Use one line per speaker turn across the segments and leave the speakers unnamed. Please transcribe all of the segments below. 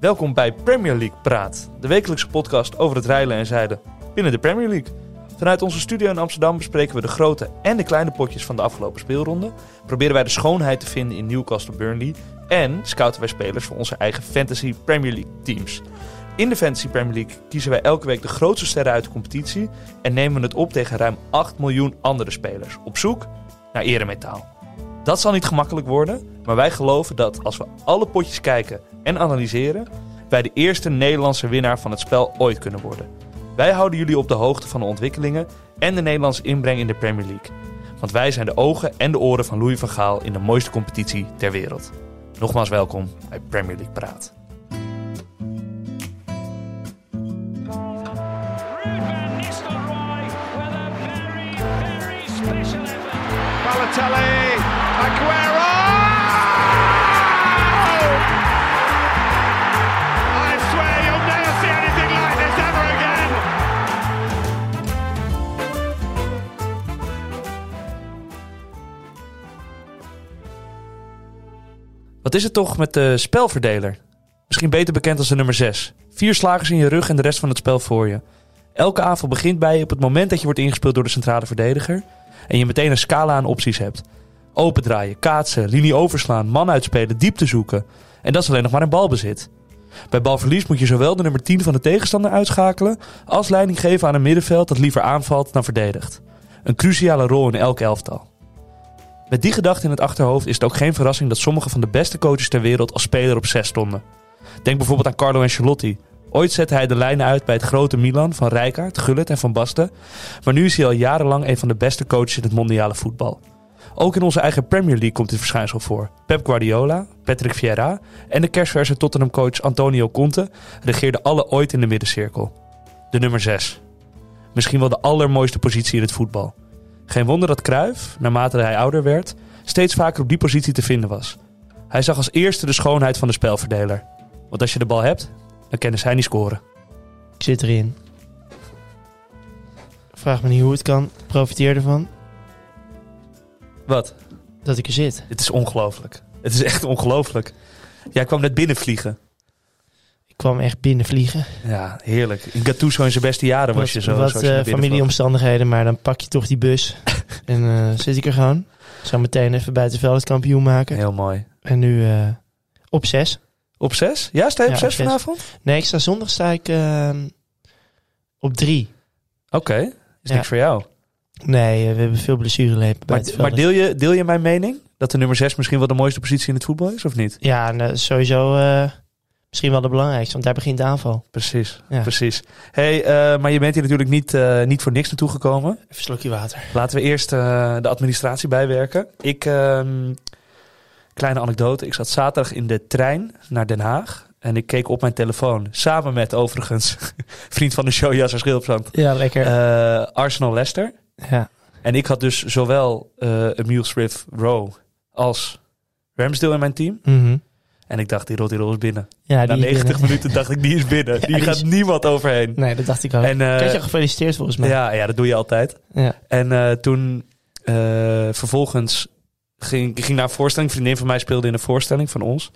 Welkom bij Premier League Praat, de wekelijkse podcast over het rijlen en zeilen binnen de Premier League. Vanuit onze studio in Amsterdam bespreken we de grote en de kleine potjes van de afgelopen speelronde. Proberen wij de schoonheid te vinden in Newcastle Burnley. En scouten wij spelers voor onze eigen Fantasy Premier League teams. In de Fantasy Premier League kiezen wij elke week de grootste sterren uit de competitie. En nemen we het op tegen ruim 8 miljoen andere spelers. Op zoek naar eremetaal. Dat zal niet gemakkelijk worden, maar wij geloven dat als we alle potjes kijken en analyseren, wij de eerste Nederlandse winnaar van het spel ooit kunnen worden. Wij houden jullie op de hoogte van de ontwikkelingen en de Nederlandse inbreng in de Premier League. Want wij zijn de ogen en de oren van Louis van Gaal in de mooiste competitie ter wereld. Nogmaals welkom bij Premier League Praat.
Ruud van Nistelrooy with a very, very special effort.
Balotelli, Aguero! I swear you'll never see anything like this ever again.
Wat is het toch met de spelverdeler? Misschien beter bekend als de nummer 6. Vier slagers in je rug en de rest van het spel voor je. Elke avond begint bij je op het moment dat je wordt ingespeeld door de centrale verdediger. En je meteen een scala aan opties hebt. Opendraaien, kaatsen, linie overslaan, man uitspelen, diepte zoeken. En dat is alleen nog maar een balbezit. Bij balverlies moet je zowel de nummer 10 van de tegenstander uitschakelen... als leiding geven aan een middenveld dat liever aanvalt dan verdedigt. Een cruciale rol in elk elftal. Met die gedachte in het achterhoofd is het ook geen verrassing dat sommige van de beste coaches ter wereld als speler op 6 stonden. Denk bijvoorbeeld aan Carlo Ancelotti. Ooit zette hij de lijnen uit bij het grote Milan van Rijkaard, Gullit en Van Basten. Maar nu is hij al jarenlang een van de beste coaches in het mondiale voetbal. Ook in onze eigen Premier League komt dit verschijnsel voor. Pep Guardiola, Patrick Vieira en de kerstverse Tottenham-coach Antonio Conte regeerden alle ooit in de middencirkel. De nummer 6. Misschien wel de allermooiste positie in het voetbal. Geen wonder dat Cruijff, naarmate hij ouder werd, steeds vaker op die positie te vinden was. Hij zag als eerste de schoonheid van de spelverdeler. Want als je de bal hebt, dan kennen zij niet scoren.
Ik zit erin. Vraag me niet hoe het kan. Profiteer ervan
Wat?
dat ik er zit.
Het is ongelooflijk. Het is echt ongelooflijk. Jij kwam net binnenvliegen.
Ik kwam echt binnenvliegen.
Ja, heerlijk. In Gattuso in zijn beste jaren was je zo.
wat
zoals je
eh,
naar binnen
familieomstandigheden, maar dan pak je toch die bus. en eh, zit ik er gewoon. Zo meteen even buitenveld het kampioen maken.
vloog. Heel mooi.
En nu eh, op zes.
Op zes? Ja, sta je op
Ja,
zes
op zes.
vanavond?
Nee, ik sta zondag sta ik eh, op drie.
Oké, is
Ja.
niks voor jou.
Nee, eh, we hebben veel blessurelepen
Maar,
buitenveld.
maar deel, je, deel je mijn mening? Dat de nummer zes misschien wel de mooiste positie in het voetbal is, of niet?
Ja, en, eh, sowieso eh, misschien wel de belangrijkste, want daar begint de aanval.
Precies,
Ja.
precies. hey, eh, maar je bent hier natuurlijk niet, eh, niet voor niks naartoe gekomen.
Even een slokje water.
Laten we eerst eh, de administratie bijwerken. Ik, ehm, kleine anekdote, ik zat zaterdag in de trein naar Den Haag. En ik keek op mijn telefoon, samen met overigens vriend van de show Jasser Schilpsand,
Ja, lekker.
eh, Arsenal Leicester.
ja.
En ik had dus zowel eh Emile Smith Rowe als Ramsdale in mijn team.
Mhm.
En ik dacht, die rol, die rol is binnen.
ja
Na
die
90 minuten dacht ik, die is binnen. die,
die
gaat
is- Nou.
niemand overheen.
Nee, dat dacht ik ook.
En, eh,
Ik had je al gefeliciteerd volgens mij.
Ja, ja, dat doe je altijd.
Ja.
En eh, toen eh, vervolgens ging ik ging naar een voorstelling. Een vriendin van mij speelde in een voorstelling van ons.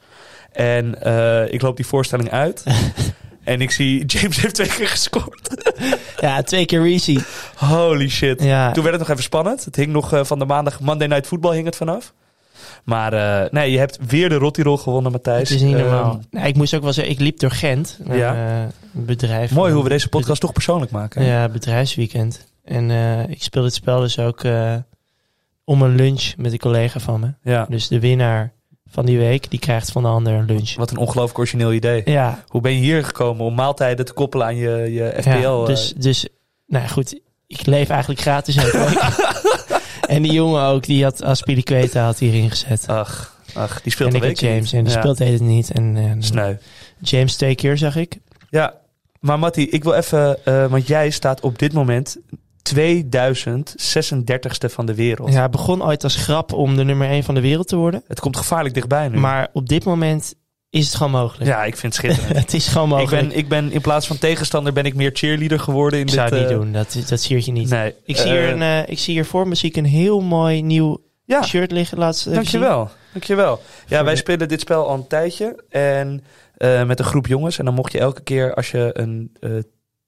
En eh, ik loop die voorstelling uit. en ik zie James heeft twee keer gescoord.
Ja, twee keer Reezy.
Holy shit.
Ja,
Toen werd het nog even spannend. Het hing nog eh, van de maandag Monday Night Football hing het vanaf. Maar eh, nee, je hebt weer de Rottirol gewonnen, Matthijs.
het is niet
Ehm,
normaal. Nee, ik moest ook wel zeggen, ik liep door Gent. Een
Ja.
eh, bedrijf.
mooi hoe we deze podcast toch persoonlijk maken.
Ja, bedrijfsweekend. En eh, ik speel het spel dus ook eh, om een lunch met een collega van me.
Ja.
Dus de winnaar van die week, die krijgt van de ander een lunch.
Wat een ongelooflijk origineel idee.
Ja,
Hoe ben je hier gekomen om maaltijden te koppelen aan je, je FPL?
ja
eh,
dus, dus, nou ja, goed, ik leef eigenlijk gratis elke week. En die jongen ook, die had Aspiliqueta had hierin gezet.
Ach, ach, die speelt
En
een
ik had
week
James, en die
Ja.
speelt het niet. En, eh,
Sneu.
James twee keer, zag ik.
Ja, maar Matty, ik wil even, eh, want jij staat op dit moment 2036ste van de wereld.
Ja, het begon ooit als grap om de nummer 1 van de wereld te worden.
Het komt gevaarlijk dichtbij nu.
Maar op dit moment is het gewoon mogelijk.
ja, ik vind het schitterend.
Het is gewoon
ik,
mogelijk.
ben, ik ben in plaats van tegenstander ben ik meer cheerleader geworden. In
ik zou
dit,
het niet
eh,
doen, dat, dat siert je niet.
Nee.
Ik, zie hier
Eh,
een, eh, ik zie hier voor me zie ik een heel mooi nieuw
Ja,
shirt liggen. Laatst, eh,
dankjewel. Dankjewel. Ja,
Voor
wij
de-
spelen dit spel al een tijdje. En eh, met een groep jongens. En dan mocht je elke keer als je een eh,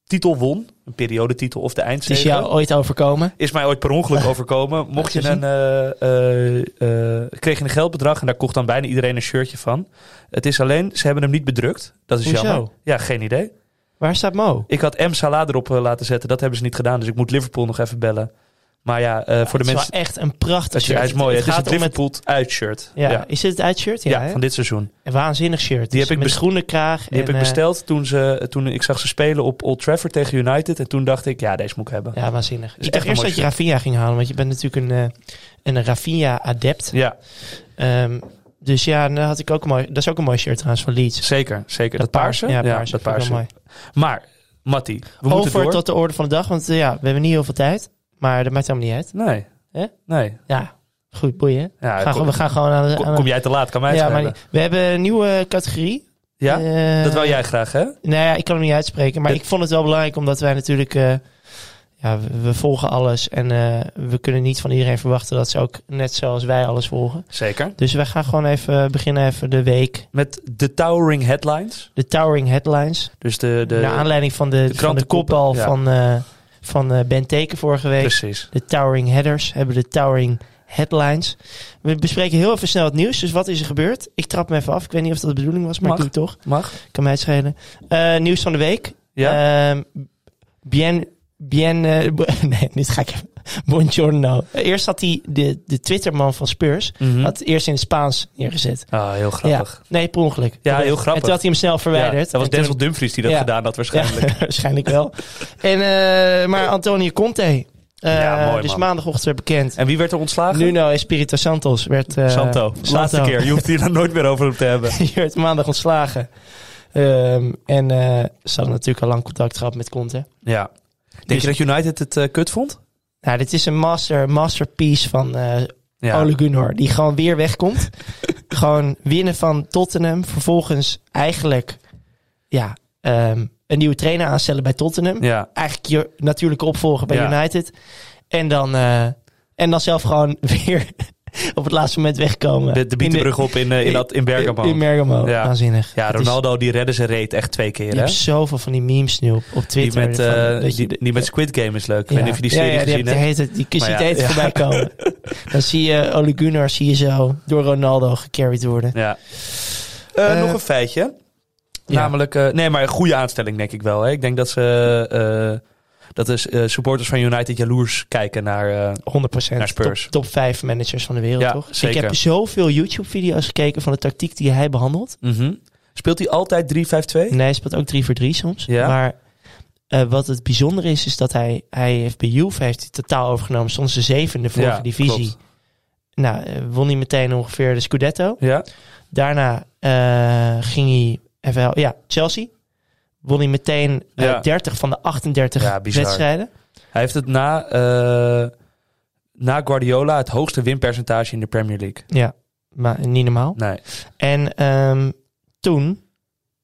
titel won, een periodetitel of de
Het is
eindzege,
jou ooit overkomen.
is mij ooit per ongeluk overkomen. Mocht je
is hem.
een, eh, eh, eh, kreeg je een geldbedrag en daar kocht dan bijna iedereen een shirtje van. Het is alleen, ze hebben hem niet bedrukt. Dat is
Hoezo?
jammer. Ja, geen idee.
Waar staat Mo?
Ik had M Salah erop eh, laten zetten. Dat hebben ze niet gedaan. Dus ik moet Liverpool nog even bellen. Maar ja, eh, voor de
het is
mensen.
wel echt een prachtig
Dat je,
shirt.
hij is mooi. hè? Het is het
om
Liverpool uitshirt.
Ja,
ja.
Is het het uitshirt? Ja,
Ja,
hè?
van dit seizoen.
Een waanzinnig shirt.
Die
Dus
heb ik
met
best-
groene kraag.
Die heb
en,
ik
eh,
besteld toen, ze, toen ik zag ze spelen op Old Trafford tegen United. En toen dacht ik, ja, deze moet ik hebben. Ja,
ja, waanzinnig.
is
Ik
echt
dacht
een
eerst
mooi
dat je Rafinha ging halen, want je bent natuurlijk een, eh, een Rafinha-adept. Ehm, dus ja, dan had ik ook een mooi, dat is ook een mooi shirt trouwens van Leeds.
zeker. zeker. Dat,
paars-
paarse?
Ja, paarse.
dat
Vind ik
paarse.
wel mooi.
Maar, Matti, we moeten
Over
door.
tot de orde van de dag, want eh, ja, we hebben niet heel veel tijd. Maar dat maakt helemaal niet uit.
Nee.
Hè?
Nee.
Ja, goed, boeien.
Ja,
We gaan,
kom,
gewoon- we gaan gewoon aan de...
kom-
aan de-
kom jij te laat, kan mij het
eh, ja, maar
schelen.
niet- we hebben een nieuwe categorie.
Ja?
Eh,
dat wil jij graag, hè?
Nou ja, ik kan hem niet uitspreken. Maar
Het-
ik vond het wel belangrijk, omdat wij natuurlijk... eh, ja, we, we volgen alles. En eh, we kunnen niet van iedereen verwachten dat ze ook net zoals wij alles volgen.
Zeker.
Dus wij gaan gewoon even eh, beginnen even de week.
Met de towering headlines.
De towering headlines.
Dus de... de
naar aanleiding van de, van de
krantenkoppen,
kopbal
ja.
van, eh, van eh, Ben Teken vorige week.
precies.
De towering headers hebben de towering headlines. We bespreken heel even snel het nieuws. Dus wat is er gebeurd? Ik trap me even af. Ik weet niet of dat de bedoeling was, maar
Mag.
ik doe het toch.
Mag?
Kan mij het schelen. Eh, nieuws van de week.
Ja?
Ehm, bien... Bien... eh, b- nee, dit ga ik even... Buongiorno. Eerst had hij de, de Twitterman van Spurs...
Mhm.
had eerst in het Spaans neergezet.
Ah, heel grappig.
Eh, Ja. Nee, per ongeluk.
Ja, heel grappig.
En toen had hij hem snel
Ja, dat
verwijderd.
was
En toen-
Denzel Dumfries die dat
Ja.
gedaan had waarschijnlijk.
ja, waarschijnlijk wel. En, eh, maar Antonio Conte. eh,
Ja, mooi,
dus
man.
maandagochtend werd bekend.
En wie werd er ontslagen?
Nuno Espirito Santos werd, eh,
Santo. Laatste keer. Je hoeft hier dan nooit meer over hem te hebben.
Die werd maandag ontslagen. Ehm, en eh, ze hadden natuurlijk al lang contact gehad met Conte.
Ja. Denk
Dus-
je dat United het eh, kut vond?
Nou, dit is een master, masterpiece van eh,
Ja.
Ole Gunnar. Die gewoon weer wegkomt. gewoon winnen van Tottenham. Vervolgens eigenlijk ja, ehm, een nieuwe trainer aanstellen bij Tottenham.
Ja.
Eigenlijk je natuurlijke opvolger bij
Ja.
United. En dan, eh, en dan zelf gewoon weer op het laatste moment wegkomen.
De, de
In
bietenbrug op in, eh, in, dat, in Bergamo.
In Bergamo,
Ja.
waanzinnig.
ja,
Het is-
Ronaldo die redde zijn reet echt twee keer.
Je
Hè?
hebt zoveel van die memes nu op, op
Die
Twitter.
met,
van-
eh,
dat je-
die, die met Squid Game is leuk. Ik weet
ja.
niet of je die
Ja,
serie
ja, die
gezien
heb-
hebt.
die heet het- Die kun je
Maar
het
ja,
eten
ja.
voorbij komen. Dan zie je eh, Ole Gunnar zie je zo door Ronaldo gecarried worden.
Ja. Eh,
Eh,
nog een feitje.
ja.
Namelijk, eh, nee, maar een goede aanstelling denk ik wel. Hè? Ik denk dat ze... eh, dat de eh, supporters van United jaloers kijken naar... eh,
100%
Naar Spurs.
Top, top 5 managers van de wereld,
Ja,
toch?
zeker.
Ik heb zoveel YouTube-video's gekeken van de tactiek die hij behandelt.
mhm. Speelt hij altijd 3-5-2?
En hij speelt ook 3 voor 3 soms.
Ja.
Maar eh, wat het bijzondere is, is dat hij, hij heeft bij Juve heeft hij totaal overgenomen. Soms de zevende vorige
Ja,
divisie.
klopt.
Nou, eh, won hij meteen ongeveer de Scudetto.
Ja.
Daarna eh, ging hij even hel- ja, Chelsea. Won hij meteen eh,
Ja.
30 van de 38
Ja, bizar.
wedstrijden.
Hij heeft het na, eh, na Guardiola het hoogste winpercentage in de Premier League.
Ja, maar niet normaal.
Nee,
En ehm, toen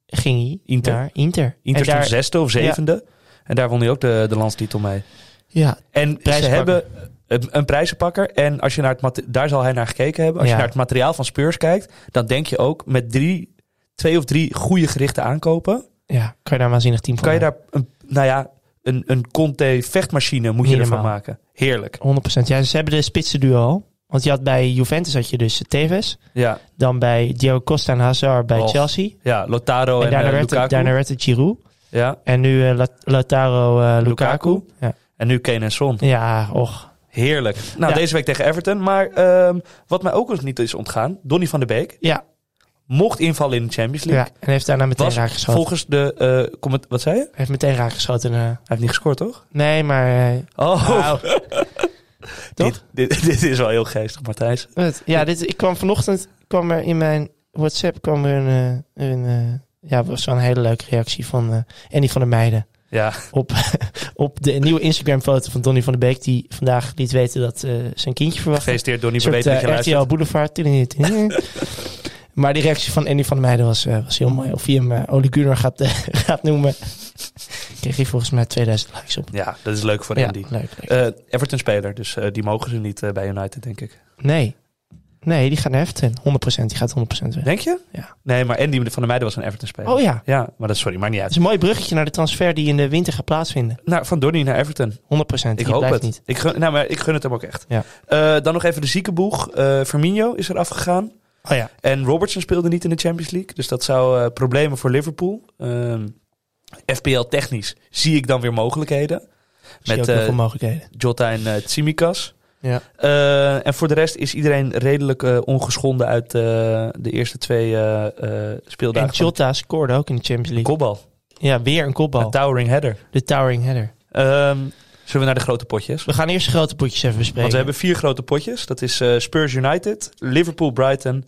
ging hij
Inter.
naar Inter.
Inter
en daar,
stond zesde of zevende. En daar won hij ook de, de landstitel mee.
Ja,
En ze
Prijzenpakker.
hebben een, een prijzenpakker. En als je naar het mate- daar zal hij naar gekeken hebben. Als
Ja.
je naar het materiaal van Spurs kijkt, dan denk je ook met drie, twee of drie goede gerichte aankopen.
ja, kan je daar een waanzinnig team van
Kan je daar een, nou ja, een, een Conte vechtmachine moet je
Niet
ervan
normaal.
maken. Heerlijk.
maken. 100%. Ja, ze hebben de spitsen duo al. Want je had bij Juventus had je dus Tevez.
Ja,
Dan bij Diego Costa en Hazard bij
Och.
Chelsea.
ja Lotaro en,
en daarna,
eh,
werd
Lukaku.
het, daarna werd het Giroud.
Ja.
En nu eh, La- Lautaro eh, Lukaku.
Lukaku.
Ja.
En nu Kane en Son.
ja, och.
Heerlijk. Nou,
Ja.
deze week tegen Everton. Maar ehm, wat mij ook nog niet is ontgaan, Donny van der Beek
Ja,
mocht invallen in de Champions League.
ja, en heeft daarna meteen
Was
raakgeschoten.
volgens de... eh, comment- wat zei je? Hij
Heeft meteen raakgeschoten. eh.
heeft niet gescoord, toch?
nee, maar... eh,
Oh,
nou,
dit, dit, dit is wel heel geestig, Matthijs.
wat? ja, dit, ik kwam vanochtend kwam er in mijn WhatsApp kwam er een... eh, een eh, ja, was zo'n hele leuke reactie van eh Annie van der Meijden.
Ja,
Op, op de nieuwe Instagram foto van Donny van der Beek. Die vandaag liet weten dat eh, zijn kindje verwacht.
gefeliciteerd Donny. We
Een soort
weten dat je
eh, RTL
luistert.
Boulevard. Tidini, tidini. maar die reactie van Andy van der Meijden was, eh, was heel mooi. Of hij hem eh, Ole Gunnar gaat, eh, gaat noemen. Kreeg hij volgens mij 2000 likes op.
Ja, dat is leuk voor
Ja,
Andy.
leuk, leuk.
Eh, Everton speler, dus eh, die mogen ze niet eh, bij United, denk ik.
Nee. Nee, die gaat naar Everton. 100%. Die gaat 100% weg.
Denk je?
Ja.
Nee, maar Andy van der Meijden was een Everton-speler.
Oh ja.
Ja, maar dat, sorry, maakt niet
Dat
uit.
is een mooi bruggetje naar de transfer die in de winter gaat plaatsvinden. 100%.
Nou, van Donny naar Everton.
die
Ik hoop
blijft
het.
niet.
Ik gun, nou, maar ik gun het hem ook echt.
Ja.
Eh, dan nog even de ziekenboeg. Eh Firmino is er afgegaan.
Oh ja.
En Robertson speelde niet in de Champions League. Dus dat zou eh, problemen voor Liverpool. Ehm, FPL technisch zie ik dan weer mogelijkheden.
Met ook
eh,
heel veel mogelijkheden.
Jota en eh, Tsimikas.
Ja.
Eh, en voor de rest is iedereen redelijk eh, ongeschonden uit eh, de eerste twee eh, eh,
En
speeldagen.
Chota scoorde ook in de Champions League.
kopbal.
Ja, weer een kopbal.
Een towering header.
de towering header.
Ehm, zullen we naar de grote potjes?
We gaan eerst de grote potjes even bespreken.
Want we hebben vier grote potjes. Dat is eh, Spurs United, Liverpool Brighton,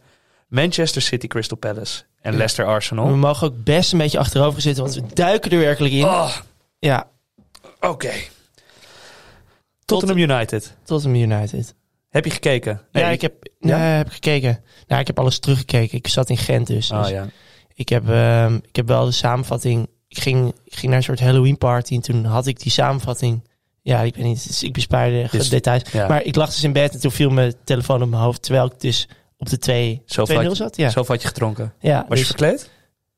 Manchester City Crystal Palace en
Ja.
Leicester
we
Arsenal.
mogen ook best een beetje achterover zitten, want we duiken er werkelijk in.
Oh,
Ja,
Oké. Tottenham United.
Tottenham United.
Heb je gekeken? Nee,
ja, ik heb,
Ja?
nee, heb ik gekeken. Nou, ik heb alles teruggekeken. Ik zat in Gent dus.
Oh,
Dus
ja.
ik, heb, ehm, ik heb wel de samenvatting. Ik ging, ik ging naar een soort Halloween party en toen had ik die samenvatting. Ja, ik weet niet. dus ik bespaar de
Is-
details.
ja.
Maar ik lag dus in bed en toen viel mijn telefoon op mijn hoofd. Terwijl ik dus op de 2
Zo
2-0
vaak-
zat. Ja,
Zoveel had je gedronken.
ja,
Was je
dus-
verkleed?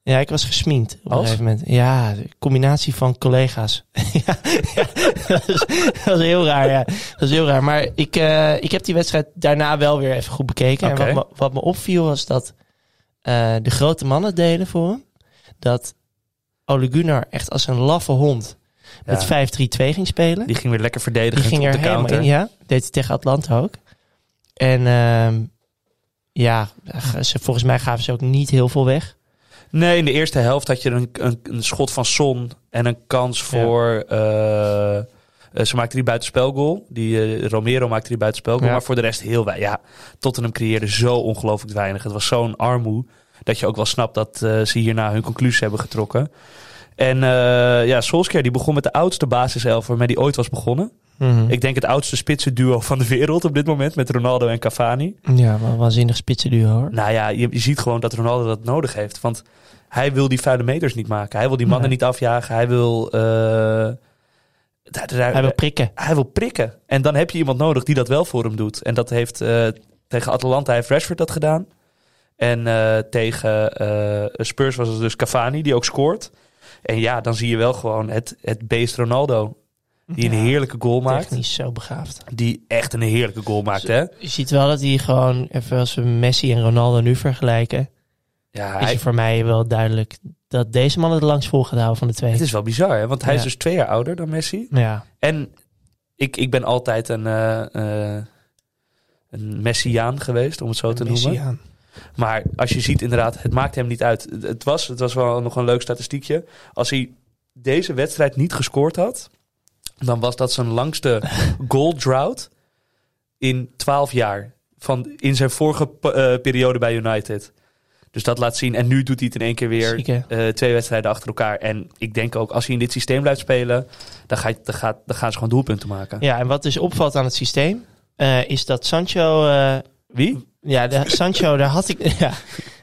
ja, ik was gesminkt op
Als?
een gegeven moment. Ja, de combinatie van collega's. ja, dat, was, dat was heel raar, ja. Dat was heel raar. Maar ik, eh, ik heb die wedstrijd daarna wel weer even goed bekeken.
Oké.
En wat me, wat me opviel was dat eh, de grote mannen deden voor hem. Dat Ole Gunnar echt als een laffe hond
Ja.
met 5-3-2 ging spelen.
Die ging weer lekker
Die
verdedigen.
ging er
op de
helemaal
counter.
in, ja. Deed ze tegen Atlanta ook. En ehm, ja, ze, volgens mij gaven ze ook niet heel veel weg.
Nee, in de eerste helft had je een, een, een schot van Son en een kans voor. eh, eh, ze maakte die buitenspelgoal. Die eh, Romero maakte die buitenspelgoal.
Ja.
Maar voor de rest heel weinig. Ja, Tottenham creëerde zo ongelooflijk weinig. Het was zo'n armoe. Dat je ook wel snapt dat eh, ze hierna hun conclusies hebben getrokken. En eh, ja, Solskjaer die begon met de oudste basiself waarmee die ooit was begonnen.
Hm.
Ik denk het oudste spitsenduo van de wereld op dit moment. Met Ronaldo en Cavani.
Ja, wel een waanzinnig spitsenduo hoor.
Nou ja, je, je ziet gewoon dat Ronaldo dat nodig heeft. Want hij wil die vuile meters niet maken. Hij wil die mannen
Nee.
niet afjagen. Hij wil, eh, da- da- da-
Hij wil prikken.
hij wil prikken. En dan heb je iemand nodig die dat wel voor hem doet. En dat heeft eh, tegen Atalanta heeft Rashford dat gedaan. En eh, tegen eh, Spurs was het dus Cavani die ook scoort. En ja, dan zie je wel gewoon het, het beest Ronaldo. Die een
Ja,
heerlijke goal maakt.
Technisch zo begaafd.
Die echt een heerlijke goal maakt, hè?
Je ziet wel dat hij gewoon, even als we Messi en Ronaldo nu vergelijken,
Ja,
is
hij-
het voor mij wel duidelijk dat deze man het langst vol gaat houden van de twee.
het is wel bizar, hè? Want hij is
Ja.
dus twee jaar ouder dan Messi.
Ja,
En ik, ik ben altijd een, eh, eh, een messiaan geweest, om het zo te noemen.
aan.
Maar als je ziet inderdaad, het maakt hem niet uit. Het- Het was, het was wel nog een leuk statistiekje. Als hij deze wedstrijd niet gescoord had, dan was dat zijn langste goal drought in 12 jaar. Van in zijn vorige pe- eh, periode bij United. Dus dat laat zien. En nu doet hij het in één keer weer.
Ziek, hè?
eh, twee wedstrijden achter elkaar. En ik denk ook, als hij in dit systeem blijft spelen, dan, ga je, dan, gaat, dan gaan ze gewoon doelpunten maken.
Ja, en wat dus opvalt aan het systeem, eh, is dat Sancho eh,
Wie?
Ja, de, Sancho, daar had ik. Ja,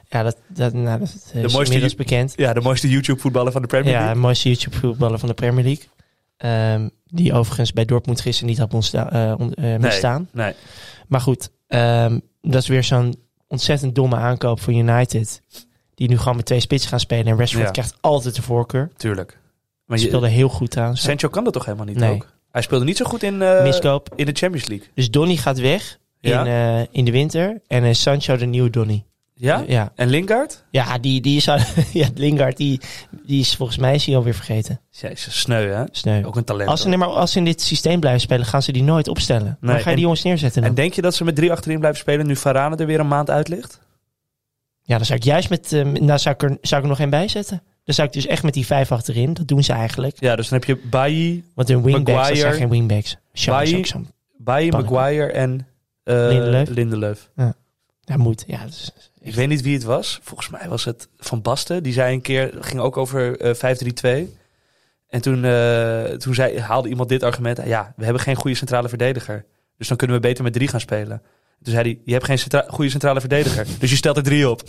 ja dat, dat, nou, dat is
mooiste
inmiddels
Ju-
bekend.
Ja, de mooiste YouTube-voetballer van de Premier
Ja,
League.
de mooiste YouTube-voetballer van de Premier League. Ehm, die overigens bij Dortmund gisteren niet had ontstaan, eh, staan.
Nee.
Maar goed, ehm, dat is weer zo'n ontzettend domme aankoop voor United. Die nu gewoon met twee spitsen gaan spelen. En Rashford
Ja.
krijgt altijd de voorkeur.
Tuurlijk. Maar
Maar
je,
speelde heel goed trouwens.
Sancho kan dat toch helemaal niet
Nee.
ook? Hij speelde niet zo goed in, eh,
Miskoop.
in de Champions League.
Dus Donny gaat weg
Ja?
in, eh, in de winter. En is Sancho de nieuwe Donny. Eh,
Ja?
Ja,
En Lingard?
ja, die, die is, aan- ja Lingard, die, die is volgens mij is hij alweer vergeten.
Jezus, sneu hè?
Sneu.
Ook een talent.
Als ze,
hoor.
nee, maar als ze in dit systeem blijven spelen, gaan ze die nooit opstellen. Dan
Nee,
ga je
en-
die jongens neerzetten dan?
En denk je dat ze met drie achterin blijven spelen nu Varane er weer een maand uit ligt?
ja, dan zou ik juist met... eh, nou, zou ik, er, zou ik er nog één bij zetten. Dan zou ik dus echt met die vijf achterin. Dat doen ze eigenlijk.
Ja, dus dan heb je Bailly,
Want hun wingbacks, dat
Maguire,
zijn geen wingbacks. Shaw is
Bailly-
ook zo'n...
Bailly
Pannenkoek.
Maguire en eh,
Lindelöf.
Lindelöf.
Ja, moet. Ja, dat is-
Ik weet niet wie het was. Volgens mij was het Van Basten. Die zei een keer, ging ook over eh 5-3-2. En toen, eh, toen zei, haalde iemand dit argument. Ja, we hebben geen goede centrale verdediger. Dus dan kunnen we beter met drie gaan spelen. Toen zei hij, je hebt geen centra- goede centrale verdediger. dus je stelt er drie op.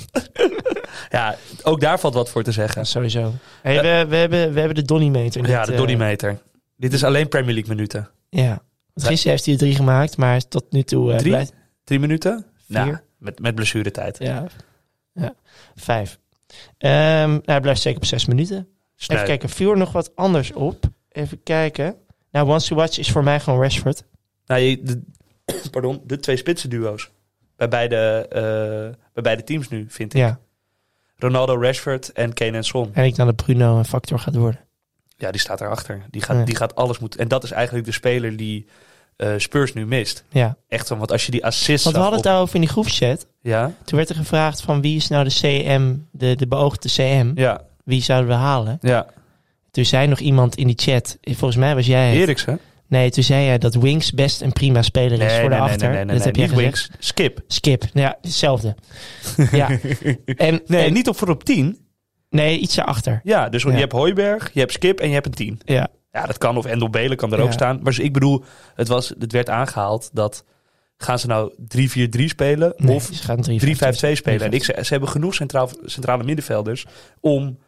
ja, ook daar valt wat voor te
ja,
zeggen.
sowieso. Hey, we, we, hebben, we hebben de Donny-meter.
Ja,
Dit,
de
eh,
Donny-meter. Dit is alleen Premier League minuten.
Ja. Want gisteren heeft hij er drie gemaakt, maar tot nu toe... eh,
Drie?
blijft-
Drie minuten?
Vier?
Nou, Met, met blessuretijd.
Ja. ja. Vijf. Ehm, nou, hij blijft zeker op zes minuten.
Sneu.
Even kijken, viel er nog wat anders op? Even kijken. Nou, Once to Watch is voor mij gewoon Rashford.
Nou, je- de, pardon, de twee spitsen duo's. Bij beide, eh, bij beide teams nu, vind ik.
Ja.
Ronaldo, Rashford en Kane en Son.
En ik dan dat Bruno een factor gaat worden.
Ja, die staat erachter. Die gaat,
Ja.
die gaat alles moeten. En dat is eigenlijk de speler die eh, Spurs nu mist.
Ja.
Echt zo, want als je die assist
Want we
zag
hadden het
op-
daarover in die groepchat.
Ja,
Toen werd er gevraagd van wie is nou de CM, de, de beoogde CM.
ja,
Wie zouden we halen?
ja.
Toen zei nog iemand in die chat, eh, volgens mij was jij het.
Eriksen?
Nee, toen zei jij dat Winks best een prima speler is voor de achter.
nee, nee,
dat
nee,
heb jij
niet
gezegd.
Winks. Skip.
Skip. Nou ja, hetzelfde. ja. En,
Nee,
en-
niet op voor op 10.
nee, iets daarachter.
Ja, dus
Ja.
je hebt Hooiberg, je hebt Skip en je hebt een 10.
Ja.
Ja, dat kan. Of Endel Belen kan er ook
Ja.
staan. Maar dus ik bedoel, het, was, het werd aangehaald dat... Gaan ze nou 3-4-3 spelen?
Nee,
of 3-5-2
ze gaan 3-5-2
spelen? En ik, ze, ze hebben genoeg centraal, centrale middenvelders om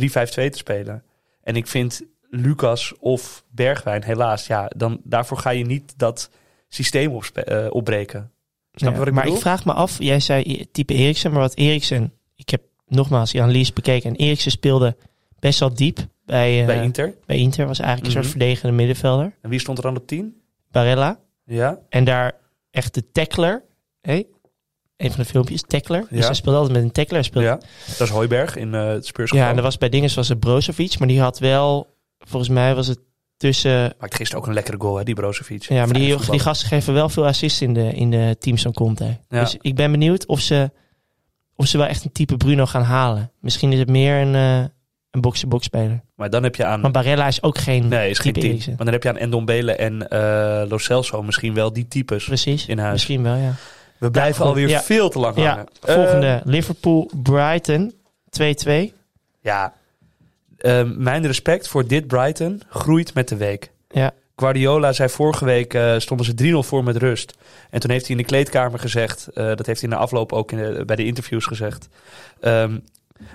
3-5-2 te spelen. En ik vind Lucas of Bergwijn, helaas... Ja, dan, daarvoor ga je niet dat systeem opspe- eh, opbreken. Snap je
Ja,
wat ik
maar
bedoel?
ik vraag me af, jij zei i- type Eriksen, maar wat Eriksen, ik heb nogmaals die analyse bekeken en Eriksen speelde best wel diep bij, eh, bij,
Bij
Inter.
Inter.
was eigenlijk een
Mhm.
soort verdedigende middenvelder,
En wie stond er dan op 10?
Barella,
Ja,
en daar echt de tackler, hé? een van de filmpjes, tackler, dus
Ja.
hij speelde altijd met een tackler, hij speelde
ja. dat is Hooiberg in eh, het Spurs.
Ja, en
Ja,
er was bij dingen zoals het Brozovic, maar die had wel, volgens mij was het tussen...
Maakt gisteren ook een lekkere goal, hè, die Brozovic.
Ja, maar die,
Fijne
die
voetballer.
gasten geven wel veel assists in de, in de teams van Conte.
Ja.
Dus ik ben benieuwd of ze, of ze wel echt een type Bruno gaan halen. Misschien is het meer een, eh, een box-to-box speler.
Maar dan heb je aan...
Maar Barella is ook geen
Hmm. Nee, is geen
type
team.
Eriksen.
Maar dan heb je aan Endombele en eh Lo Celso misschien wel die types
Precies,
in huis.
misschien wel, ja.
We blijven
goed,
alweer
ja.
veel te lang
Ja,
hangen.
volgende.
Eh,
Liverpool-Brighton, 2-2.
ja. Ehm, mijn respect voor dit Brighton groeit met de week.
Ja.
Guardiola zei vorige week, eh, stonden ze 3-0 voor met rust. En toen heeft hij in de kleedkamer gezegd, eh, dat heeft hij in de afloop ook in de- bij de interviews gezegd. ehm,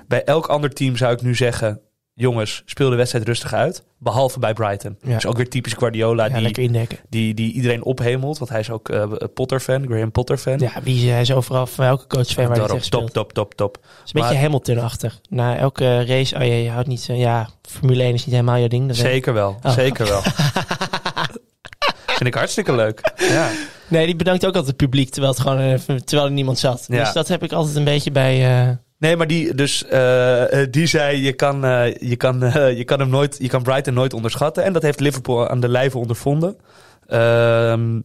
bij elk ander team zou ik nu zeggen, jongens, speel de wedstrijd rustig uit. Behalve bij Brighton.
Ja.
Dus ook weer typisch Guardiola,
Ja,
die,
lekker indekken.
die, die iedereen ophemelt. Want hij is ook eh, Potter-fan, Graham Potter-fan.
Ja, wie eh, is- hij is overal van elke coach fan waar hij
Daarop,
tegen
top,
speelt.
top, top, top.
Het is een beetje
maar-
Hamilton-achtig. Na elke race, oh ja, je houdt niet... eh, Ja, Formule 1 is niet helemaal jouw ding. Dat weet ik.
Zeker wel,
Oh.
zeker wel. Vind ik hartstikke leuk. Ja.
Nee, die bedankt ook altijd het publiek, terwijl, het gewoon, eh, terwijl er niemand zat.
Ja.
Dus dat heb ik altijd een beetje bij... eh,
Nee, maar die, dus, eh, eh, die zei, je kan, eh, je, kan, eh, je, kan hem nooit, je kan Brighton nooit onderschatten. En dat heeft Liverpool aan de lijve ondervonden. Ehm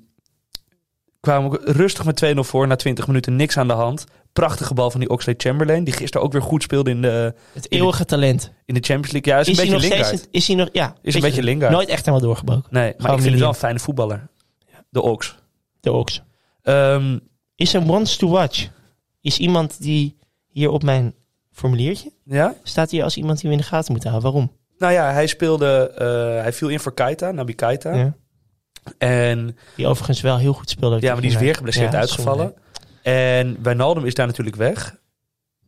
kwamen ook rustig met 2-0 voor, na 20 minuten niks aan de hand. Prachtige bal van die Oxlade-Chamberlain, die gisteren ook weer goed speelde in de,
Het eeuwige talent.
in de Champions League. Ja, is,
hij
een beetje
nog steeds
Lingard.
een- Is hij nog... Ja.
Is een beetje Lingard.
Nooit echt helemaal doorgebroken.
Nee, maar ik vind het
medium.
wel een fijne voetballer. De Ox.
De Ox.
Ehm,
Is er once to watch? Is iemand die hier op mijn formuliertje...
ja?
Staat hier als iemand die we in de gaten moeten houden. Waarom?
Nou ja, hij speelde... eh, hij viel in voor Keita, Nabi Keita.
Ja.
En,
Die overigens wel heel goed speelde.
ja, maar die is weer geblesseerd
Ja,
uitgevallen. En Wijnaldum is daar natuurlijk weg.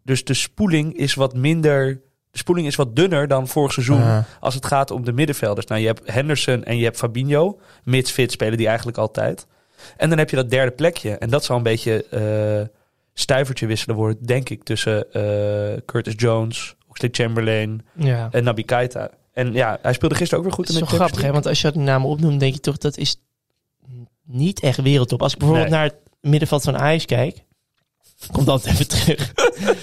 Dus de spoeling is wat minder... De spoeling is wat dunner dan vorig seizoen
Ah.
als het gaat om de middenvelders. Nou, je hebt Henderson en je hebt Fabinho. Mits fit spelen die eigenlijk altijd. En dan heb je dat derde plekje. En dat zal een beetje eh stuivertje wisselen worden, denk ik, tussen eh, Curtis Jones, Oxlade-Chamberlain,
Ja.
En Nabi Keita. En ja, hij speelde gisteren ook weer goed
Het
in
is
de Champions
zo grappig, hè? want als je dat namen opnoemt, denk je toch dat is niet echt wereldtop. Als ik bijvoorbeeld
Nee.
naar het middenveld van Ajax kijk, komt altijd even terug.
League.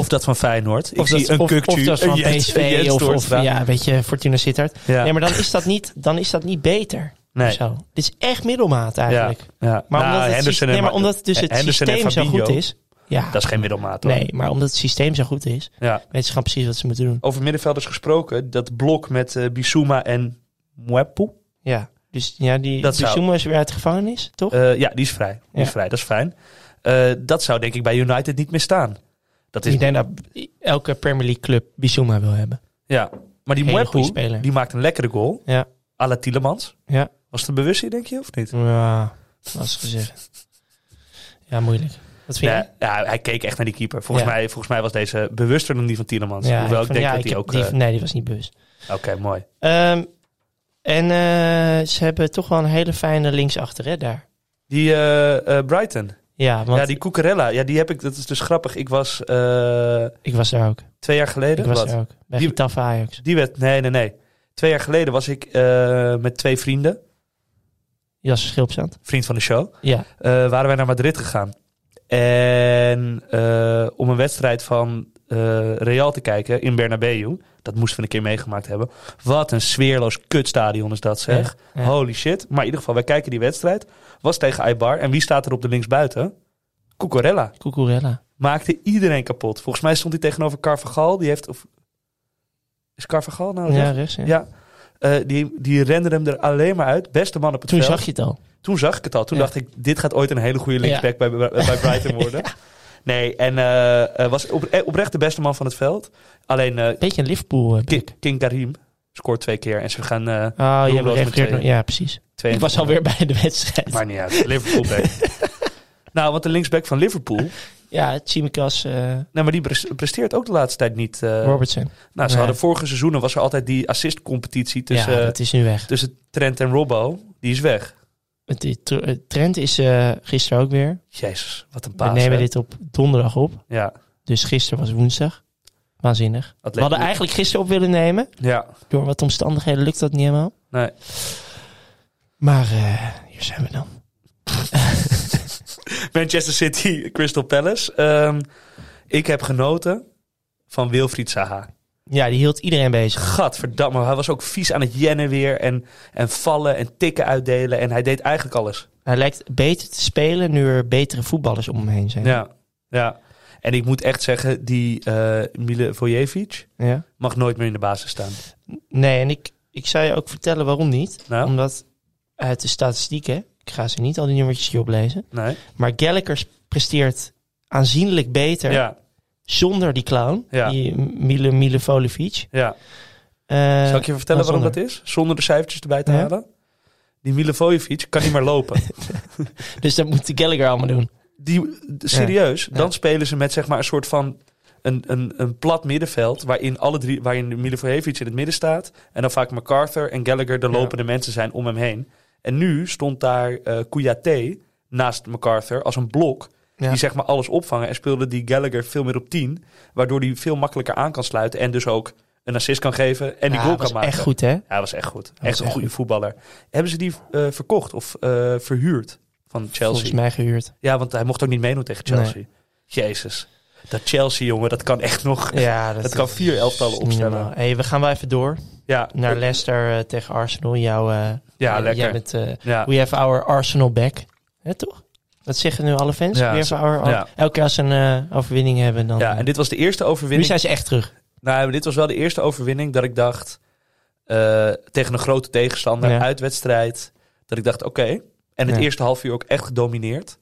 Of dat van Feyenoord. Ik
Of
zie
dat,
een
of,
Kukcu,
of dat van
een Jens- een
PSV
Jens
of, of
Toornstra.
ja, weet je, Fortuna Sittard.
Ja.
Nee, maar dan is dat niet, dan is dat niet beter.
Nee.
of Zo. Dit is echt middelmaat eigenlijk.
Ja.
Maar,
Nou,
omdat het,
Henderson
systeem,
en
nee, maar
Ma-
omdat dus het
Henderson en
systeem zo
Fabinho,
goed is. Ja,
Dat is geen middelmaat. hoor.
nee, maar omdat het systeem zo goed is,
Ja.
weten ze gewoon precies wat ze moeten doen.
Over middenvelders gesproken, dat blok met eh, Bissouma en Mwepu.
Ja, dus ja, die
Dat zou-
Bissouma is weer uit de gevangenis, toch?
Eh, ja, die is vrij. Die is
Ja.
vrij, dat is fijn. Eh, dat zou denk ik bij United niet meer staan. Dat is,
ik denk dat elke Premier League club Bissouma wil hebben.
ja. Maar die
Hele goede
Mwepu,
speler.
die maakt een lekkere goal.
Ja.
à la Tielemans.
Ja.
Was het een bewustzijn, denk je, of niet?
Ja, lastig gezegd. Ja, moeilijk. Wat vind
Ja,
jij?
ja, hij keek echt naar die keeper. Volgens,
Ja.
mij, volgens mij was deze bewuster dan die van Tielemans.
Ja,
Hoewel ik
van-
denk
ja,
dat hij
heb
ook...
die-
eh,
nee, die was niet bewust.
Oké, mooi.
Ehm, en eh, ze hebben toch wel een hele fijne linksachter, hè, daar.
Die eh, eh, Brighton.
Ja, want
Ja, die Cucurella, ja, die heb ik, dat is dus grappig. Ik was eh,
ik was daar ook.
twee jaar geleden.
Ik was
wat?
daar ook. Bij
Die-
Getafe Ajax.
Die werd, nee, nee, nee. Twee jaar geleden was ik eh, met twee vrienden,
Jas Schilpzand.
vriend van de show,
Ja.
eh, waren wij naar Madrid gegaan. En eh, om een wedstrijd van eh, Real te kijken in Bernabeu. Dat moesten we een keer meegemaakt hebben. Wat een sfeerloos kutstadion is dat zeg.
Ja, ja.
Holy shit. Maar in ieder geval, wij kijken die wedstrijd. Was tegen Aibar. En wie staat er op de linksbuiten? Cucurella.
Cucurella.
maakte iedereen kapot. Volgens mij stond hij tegenover Carvajal. Die heeft. Of, is Carvajal nou?
Ja,
recht?
rechts. Ja.
ja. Eh, die, die rende hem er alleen maar uit. Beste man op het
Toen
veld.
zag je het al.
Toen zag ik het al. Toen
Ja.
dacht ik, dit gaat ooit een hele goede linksback bij, bij, bij Brighton worden. Nee, en eh, eh, was op, eh, oprecht de beste man van het veld. Alleen eh,
Beetje een Liverpool. eh,
King, King Karim scoort twee keer. En ze gaan eh
Ah, je
Doelloos met
refereert
tweeën.
nog. Ja, precies.
twee...
Ik was alweer bij de wedstrijd.
Maar niet uit. Liverpool back. nou, want de linksback van Liverpool...
Ja, Tsimikas, eh
Nou, maar die pres- presteert ook de laatste tijd niet... eh,
Robertson.
Nou, ze
Nee.
hadden vorige seizoenen was er altijd die assistcompetitie tussen, eh,
ja, dat is nu weg.
tussen Trent en Robbo. Die is weg.
Het- die tr- eh, Trent is eh, gisteren ook weer.
Jezus, wat een
We
paas.
nemen
hè?
dit op donderdag op.
Ja,
Dus gisteren was woensdag. Waanzinnig.
Atletico-
We hadden eigenlijk gisteren op willen nemen.
Ja,
Door wat omstandigheden lukt dat niet helemaal.
nee.
Maar eh, hier zijn we dan.
Manchester City, Crystal Palace. Ehm, ik heb genoten van Wilfried Saha.
Ja, die hield iedereen bezig.
Gadverdamme, hij was ook vies aan het jennen weer. En, en vallen en tikken uitdelen. En hij deed eigenlijk alles.
Hij lijkt beter te spelen nu er betere voetballers om hem heen zijn.
Ja, ja. En ik moet echt zeggen, die eh Milivojevic
Ja.
mag nooit meer in de basis staan.
Nee, en ik, ik zou je ook vertellen waarom niet.
Nou,
Omdat uit de statistieken, ik ga ze niet al die nummertjes hier oplezen.
nee.
Maar Gallagher presteert aanzienlijk beter
Ja,
zonder die clown.
Ja.
Die Mile, Mile Volevic.
ja.
Eh,
Zal ik je vertellen
maar
waarom dat
zonder.
is? nou, Zonder de cijfertjes erbij te
Ja.
halen. Die Milivojevic kan niet meer lopen.
Dus dat moet Gallagher allemaal doen.
Die, serieus,
Ja.
dan spelen ze met zeg maar een soort van een, een, een plat middenveld... waarin, alle drie, waarin Milivojevic in het midden staat... en dan vaak MacArthur en Gallagher de
Ja.
lopende mensen zijn om hem heen. En nu stond daar eh Kouyaté naast MacArthur als een blok...
Ja.
die zeg maar alles opvangen... en speelde die Gallagher veel meer op 10... waardoor hij veel makkelijker aan kan sluiten... en dus ook een assist kan geven en die
Ja,
goal
was
kan maken.
echt goed, hè?
Ja, was echt goed.
was
echt een
echt
goede voetballer. Hebben ze die eh, verkocht of eh, verhuurd van
Volgens
Chelsea?
mij gehuurd.
Ja, want hij mocht ook niet meedoen tegen Chelsea. Jezus. Dat Chelsea, jongen, dat kan echt nog.
Ja,
Dat kan vier elftallen
is
opstellen.
niet normaal. Hey, we gaan wel even door
Ja,
naar Leicester eh, tegen Arsenal. Jouw, eh,
ja
jij-
lekker.
Jij bent, eh,
ja.
we have our Arsenal back. Hè, toch? Dat zeggen nu alle fans.
Ja,
we have
zo-
our,
ja.
Elke keer als ze een eh, overwinning hebben, dan...
ja, en dit was de eerste
nu
overwinning.
zijn ze echt terug.
Nou, dit was wel de eerste overwinning dat ik dacht. eh, tegen een grote tegenstander,
Ja.
uitwedstrijd. Dat ik dacht, oké. En het
Ja.
eerste half uur ook echt gedomineerd.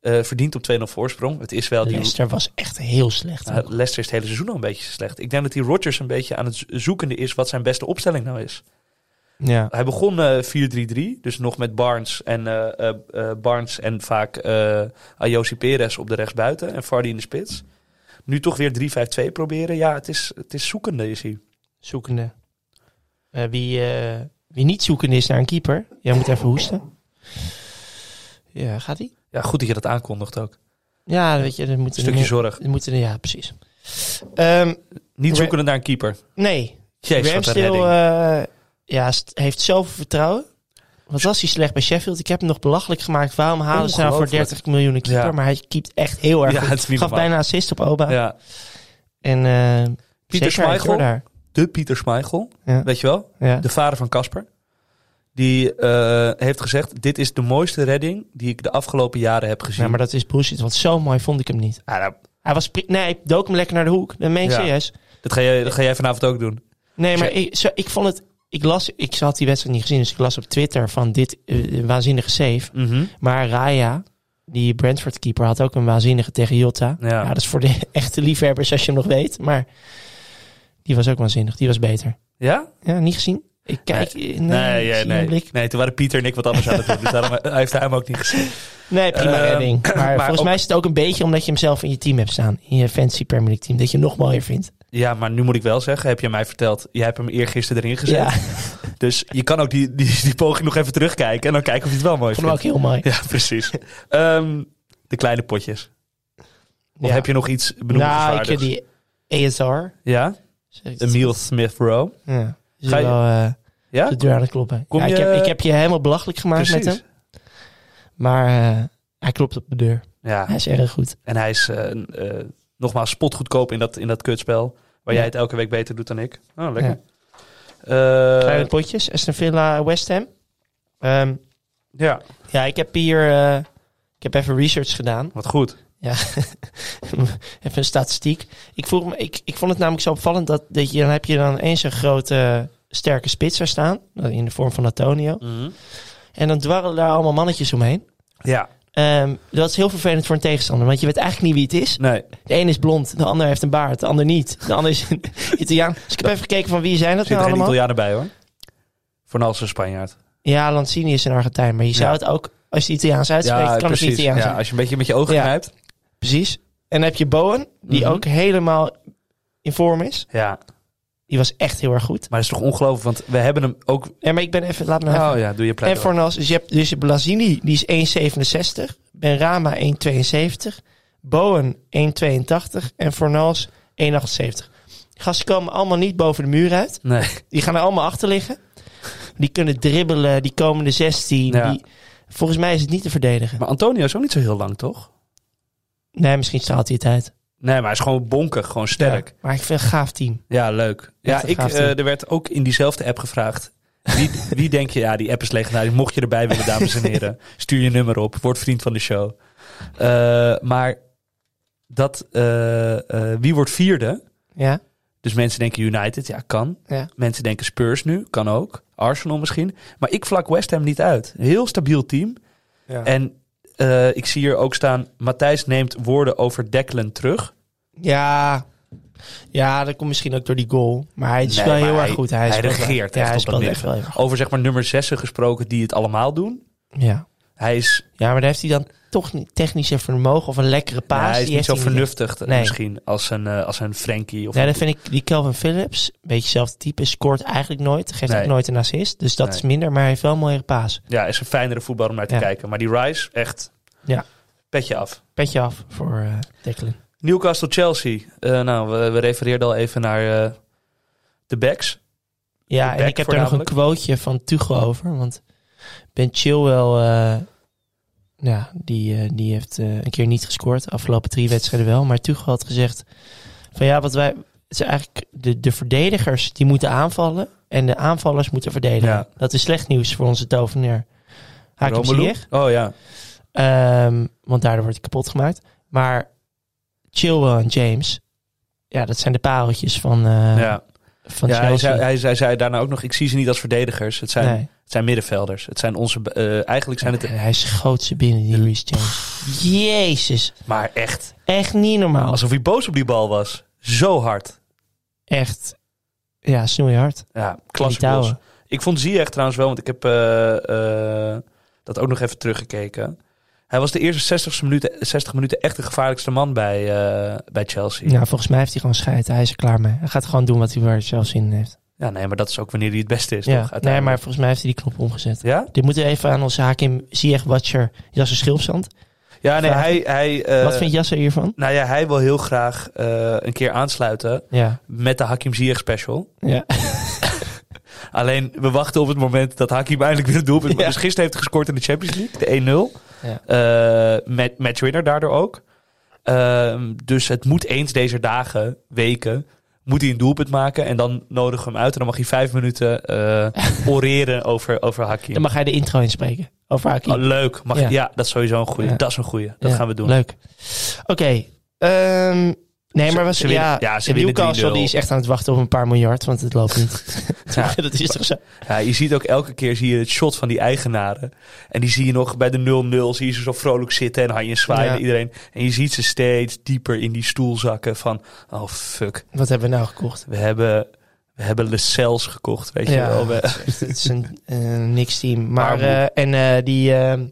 Eh verdiend op 2-0 voorsprong. Het is wel die
Leicester was echt heel slecht.
Nou, Leicester is het hele seizoen al een beetje slecht. Ik denk dat die Rodgers een beetje aan het zo- zoekende is wat zijn beste opstelling nou is.
ja.
Hij begon eh 4-3-3, dus nog met Barnes en, eh, eh, eh, Barnes en vaak eh Ayosi Perez op de rechtsbuiten en Vardy in de spits. Nu toch weer 3-5-2 proberen. Ja, het is, het is zoekende is hij.
Zoekende. Eh, wie, eh, wie niet zoekende is naar een keeper. Jij moet even hoesten. Ja, gaat ie?
Ja, goed dat je dat aankondigt ook.
Ja, weet je, dat moet
Een stukje zorg.
Dat moeten, ja, precies. Ehm,
Niet
Ra-
zoekende naar een keeper.
nee,
Jezus, wat een
Ramsdale
redding.
eh, ja, st- heeft zoveel vertrouwen. Wat was hij slecht bij Sheffield? Ik heb hem nog belachelijk gemaakt. Waarom halen ze nou voor
Ongelooflijk.
30 miljoen een keeper?
Ja.
Maar hij keept echt heel erg
Ja,
goed.
het is niet
Gaf
normaal.
bijna assist op Oba.
Ja.
En eh
Pieter
zeker uit
Schmeichel,
Jordaar.
de Pieter Schmeichel,
Ja.
weet je wel?
Ja.
de vader van Casper. Die eh, heeft gezegd: Dit is de mooiste redding die ik de afgelopen jaren heb gezien.
Ja, maar dat is bullshit, want zo mooi vond ik hem niet.
Ah, nou,
Hij was... pri- Nee, ik dook hem lekker naar de hoek. Dat meen ik
Ja.
serieus.
dat, ga jij, dat ga jij vanavond ook doen.
Nee, maar
Zo-
ik, zo- ik vond het... Ik las... Ik had die wedstrijd niet gezien, dus ik las op Twitter van dit eh, waanzinnige save. Maar Raya, die Brentford keeper, had ook een waanzinnige tegen Jota.
Ja.
Ja. dat is voor de echte liefhebbers als je hem nog weet. Maar die was ook waanzinnig. Die was beter.
Ja?
Ja, niet gezien? Ik kijk. eh, Nee,
Nee,
ik
ja,
zie
nee,
mijn
nee.
blik.
toen waren Pieter en ik wat anders aan het doen. Dus daarom hij heeft hij hem ook niet gezien.
nee prima
Ehm,
redding. Maar,
maar
volgens
ook-
mij is het ook een beetje omdat je hem zelf in je team hebt staan. In je fancy Premier League team. Dat je hem nog mooier vindt.
Ja, maar nu moet ik wel zeggen: heb je mij verteld? Jij hebt hem eergisteren erin gezet.
Ja, ik
Dus je kan ook die, die, die poging nog even terugkijken. En dan kijken of je het wel mooi
vond hem ook
vindt.
heel mooi.
Ja, precies. Ehm, De kleine potjes. Of
Ja.
heb je nog iets
Nou, ik
benoemenswaardigs?
ken die ESR.
Ja?
Zeg ik dat?
Emile Smith Rowe.
Ja. Is
Ga je-
wel eh,
Ja?
de deur aan het kloppen.
Kom
Ja, ik,
je-
heb, ik heb je helemaal belachelijk gemaakt met
Precies.
hem. Maar eh, hij klopt op de deur.
Ja,
Hij is erg goed.
en hij is eh, eh, nogmaals spotgoedkoop in dat, in dat kutspel. Waar
Ja.
jij het elke week beter doet dan ik. Oh, lekker. Eh,
Kleine
Ja.
potjes. Aston Villa, West Ham. Ehm,
ja,
ja, ik heb hier... eh, ik heb even research gedaan.
wat goed.
Even een statistiek. Ik, vroeg me, ik, ik vond het namelijk zo opvallend dat, dat je, dan heb je dan eens een grote sterke spits daar staan. In de vorm van Antonio. En dan dwarrelen daar allemaal mannetjes omheen.
Ja,
Ehm, dat is heel vervelend voor een tegenstander. Want je weet eigenlijk niet wie het is.
nee.
De een is blond, de ander heeft een baard, de ander niet. De ander is een Italiaan. Dus ik heb even gekeken van wie zijn dat
Er zit
nou
er geen
allemaal?
Italianen bij hoor. Vooral een Spanjaard.
Ja, Lanzini is een Argentijn. Maar je zou
Ja.
het ook, als je het Italiaans uitspreekt, kan het Italiaans
Ja,
zijn.
als je een beetje met je ogen
Ja.
knijpt.
Precies. En dan heb je Bowen, die
Mhm.
ook helemaal in vorm is.
Ja,
Die was echt heel erg goed.
maar het is toch ongelooflijk, want we hebben hem ook...
Ja, maar ik ben even, laat me nou even
Oh ja, doe je
En
plek.
Fornas, dus je hebt dus je hebt Blasini, die is 1,67. Benrama 1,72. Bowen 1,82. En Fornas 1,78. Gasten komen allemaal niet boven de muur uit.
Nee,
Die gaan er allemaal achter liggen. Die kunnen dribbelen, die komen de 16.
Ja.
Die, volgens mij is het niet te verdedigen.
maar Antonio is ook niet zo heel lang, toch?
Nee, misschien straalt hij het uit.
Nee, maar hij is gewoon bonkig, gewoon sterk.
Ja, maar ik vind het een gaaf team.
Ja, leuk. Ja,
een
ik,
gaaf
eh,
team.
er werd ook in diezelfde app gevraagd. Wie, wie denk je, ja, die app is legendarisch. Mocht je erbij willen, dames en heren, stuur je nummer op. Word vriend van de show. Eh, maar dat, eh, eh, wie wordt vierde?
Ja,
Dus mensen denken United, ja, kan.
ja.
Mensen denken Spurs nu, kan ook. Arsenal misschien. Maar ik vlak West Ham niet uit. Een heel stabiel team.
Ja.
En eh, ik zie hier ook staan, Matthijs neemt woorden over Declan terug.
ja. Ja, dat komt misschien ook door die goal. Maar hij is
Nee,
wel
maar
heel
hij-
erg goed. Hij,
hij
speelt wel-
regeert
ja,
echt
hij
op dat
speelt
midden.
echt wel heel erg
Over zeg maar nummer zessen gesproken die het allemaal doen.
goed. Ja.
Hij is,
Ja, maar daar heeft hij dan toch niet technisch een vermogen of een lekkere
hij
paas.
is
die
niet
heeft
zo
hij niet.
vernuftig eh,
Nee.
misschien als een, eh, als een Frankie. Of
Nee, dat vind ik, die Kelvin Phillips, een beetje hetzelfde type, scoort eigenlijk nooit. Geeft
Nee.
ook nooit een assist. Dus dat
Nee.
is minder, maar hij heeft wel een mooie paas.
Ja, is een fijnere voetballer om naar te
Ja.
kijken. Maar die Rice, echt
Ja.
petje af.
Petje af voor eh Declan.
Newcastle-Chelsea. Eh, nou, we, we refereerden al even naar eh, de backs.
Ja,
De
en
back
ik heb daar nog een
voornamelijk.
quoteje van Tuchel over. Want Ben Chilwell, eh ja, die, eh, die heeft eh, een keer niet gescoord. Afgelopen drie wedstrijden wel. Maar Tuchel had gezegd van ja, wat wij... Het is eigenlijk de, de verdedigers die moeten aanvallen. En de aanvallers moeten verdedigen.
Ja.
Dat is slecht nieuws voor onze tovenaar. Hakim
Romelu.
Ziyech.
Oh ja.
Ehm, want daardoor wordt hij kapot gemaakt. Maar Chilwell en James... Ja, dat zijn de pareltjes van, eh,
ja.
van
ja hij,
Chelsea.
zei, hij, zei, zei daarna ook nog, ik zie ze niet als verdedigers. Het zijn,
Nee.
het zijn middenvelders. Het zijn onze, eh, eigenlijk zijn het...
Ja, hij schoot ze binnen, die Reece James. Jezus.
Maar echt,
Echt niet normaal.
alsof hij boos op die bal was. Zo hard.
Echt. Ja, snoeihard.
Ja,
Die
klasse goals.
touwen.
Ik vond Ziyech trouwens wel, want ik heb eh, eh, dat ook nog even teruggekeken. Hij was de eerste 60 minuten, 60 minuten echt de gevaarlijkste man bij, eh, bij Chelsea. Ja.
Nou, volgens mij heeft hij gewoon scheid. Hij is er klaar mee. Hij gaat gewoon doen wat hij waar zelf zin in heeft.
nee, maar dat is ook wanneer hij het beste is,
Ja.
toch?
Nee, maar
Uiteindelijk.
volgens mij heeft hij die knop omgezet.
Ja?
Dit moeten we even aan onze Hakim Ziyech Watcher, Jasser Schilpzand.
Ja, nee,
Vragen.
hij... hij eh,
wat vindt Jasser hiervan?
Nou ja, hij wil heel graag eh, een keer aansluiten
Ja.
met de Hakim Ziyech special.
ja.
Alleen, we wachten op het moment dat Hakim eindelijk weer het doelpunt...
Ja.
Dus gisteren heeft hij gescoord in de Champions League, de 1-0.
Ja.
Eh, met matchwinner daardoor ook. Ehm, dus het moet eens deze dagen, weken, moet hij een doelpunt maken. En dan nodigen we hem uit en dan mag hij vijf minuten eh, oreren over, over Hakim.
Dan mag hij de intro inspreken. Over Hakim.
Oh, leuk. Mag,
Ja.
ja. dat is sowieso een goede.
Ja.
Dat is een goede. Dat
Ja,
gaan we doen.
Leuk. Oké. ehm, nee,
Ze-
maar was,
ze winnen-
ja,
ja, ze winnen
Newcastle
3-0.
die is echt aan het wachten op een paar miljard, want het loopt niet.
Ja.
dat is toch zo?
Ja, je ziet ook elke keer zie je het shot van die eigenaren. En die zie je nog bij de 0-0. Zie je ze zo vrolijk zitten en handjes zwaaien
Ja.
naar iedereen. En je ziet ze steeds dieper in die stoel zakken van... Oh, fuck.
Wat hebben we nou gekocht?
We hebben, we hebben Lecels gekocht, weet je
Ja.
wel. We-
Het is een eh, niks team. Maar,
Armoe.
eh, en eh, die ehm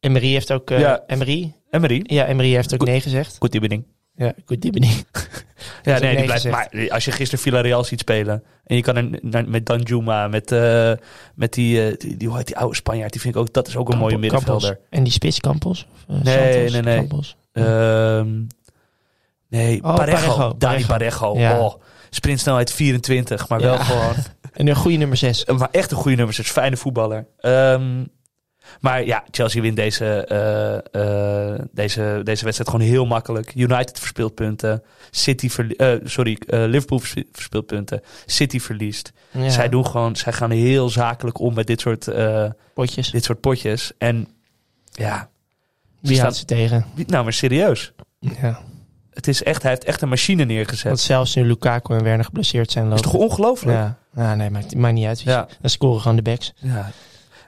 Emery heeft ook... eh
Ja.
Emery?
Emery,
Ja, Emery heeft ook
Goed.
nee gezegd.
goed evening.
Ja, goed, die ben ik.
Ja,
heb
nee, die
nee
blijft,
gezegd.
maar als je gisteren Villarreal ziet spelen. En je kan er naar- met Danjuma, met, eh, met die, eh, die, die, hoe heet die oude Spanjaard. Die vind ik ook, dat is ook een mooie
Campos.
middenvelder.
En die spits Campos? Of, eh,
Nee,
Santos?
nee, nee.
Campos.
Ehm, nee,
Oh,
Parejo.
Parejo,
Dani
Parejo.
Parejo.
Ja.
Oh, sprintsnelheid 24, maar wel
Ja.
gewoon...
En een goede nummer 6.
Maar echt een goede nummer zes. Fijne voetballer. Ehm, maar ja, Chelsea wint deze, eh, eh, deze, deze wedstrijd gewoon heel makkelijk. United verspeelt punten. City verlie- eh, sorry, eh, Liverpool vers- verspeelt punten. City verliest.
Ja,
Zij, doen gewoon, zij gaan heel zakelijk om met dit soort, eh,
potjes.
dit soort potjes. En ja,
Wie
staan-
houdt ze tegen?
wie- nou maar serieus.
Ja.
Het is echt, hij heeft echt een machine neergezet.
Want zelfs nu Lukaku en Werner geblesseerd zijn
Dat is
lopen.
toch ongelooflijk?
ja. ja, nee, maakt, maakt niet uit.
Ja.
Ja. Dan scoren gewoon de backs.
Ja.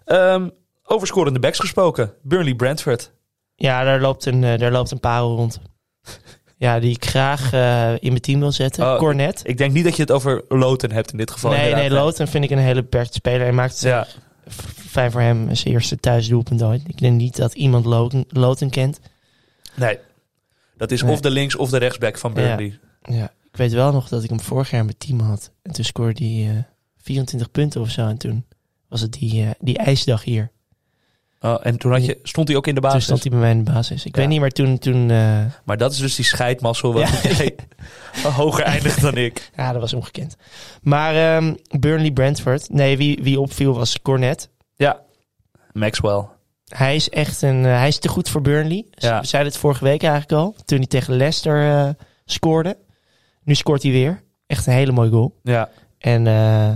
Ehm, over scorende backs gesproken. Burnley-Brentford.
Ja, daar loopt een, eh, daar loopt een parel rond. ja, die ik graag eh, in mijn team wil zetten.
Oh,
Cornet.
Ik denk niet dat je het over Loten hebt in dit geval.
Nee,
inderdaad.
nee, Loten vind ik een hele beperkte speler. Hij maakt
Ja,
f- fijn voor hem zijn eerste thuisdoelpunt ooit. Ik denk niet dat iemand Loten, Loten kent.
nee. Dat is
Nee.
of de links- of de rechtsback van Burnley.
Ja, ik weet wel nog dat ik hem vorig jaar in mijn team had. En toen scoorde hij eh, 24 punten of zo. En toen was het die, eh, die ijsdag hier.
Oh, en toen had je, stond hij ook in de
Toen
basis.
stond hij bij mij in de basis. Ik
Ja.
weet niet, maar toen... toen eh,
Maar dat is dus die scheidmassel wat jij hoger eindigt dan ik.
Ja, dat was ongekend. Maar ehm, Burnley-Brentford. Nee, wie, wie opviel was Cornet.
Maxwell.
Hij is echt een... eh, hij is te goed voor Burnley.
Ja.
We zeiden het vorige week eigenlijk al. Toen hij tegen Leicester eh, scoorde. Nu scoort hij weer. Echt een hele mooie goal.
Ja.
En eh,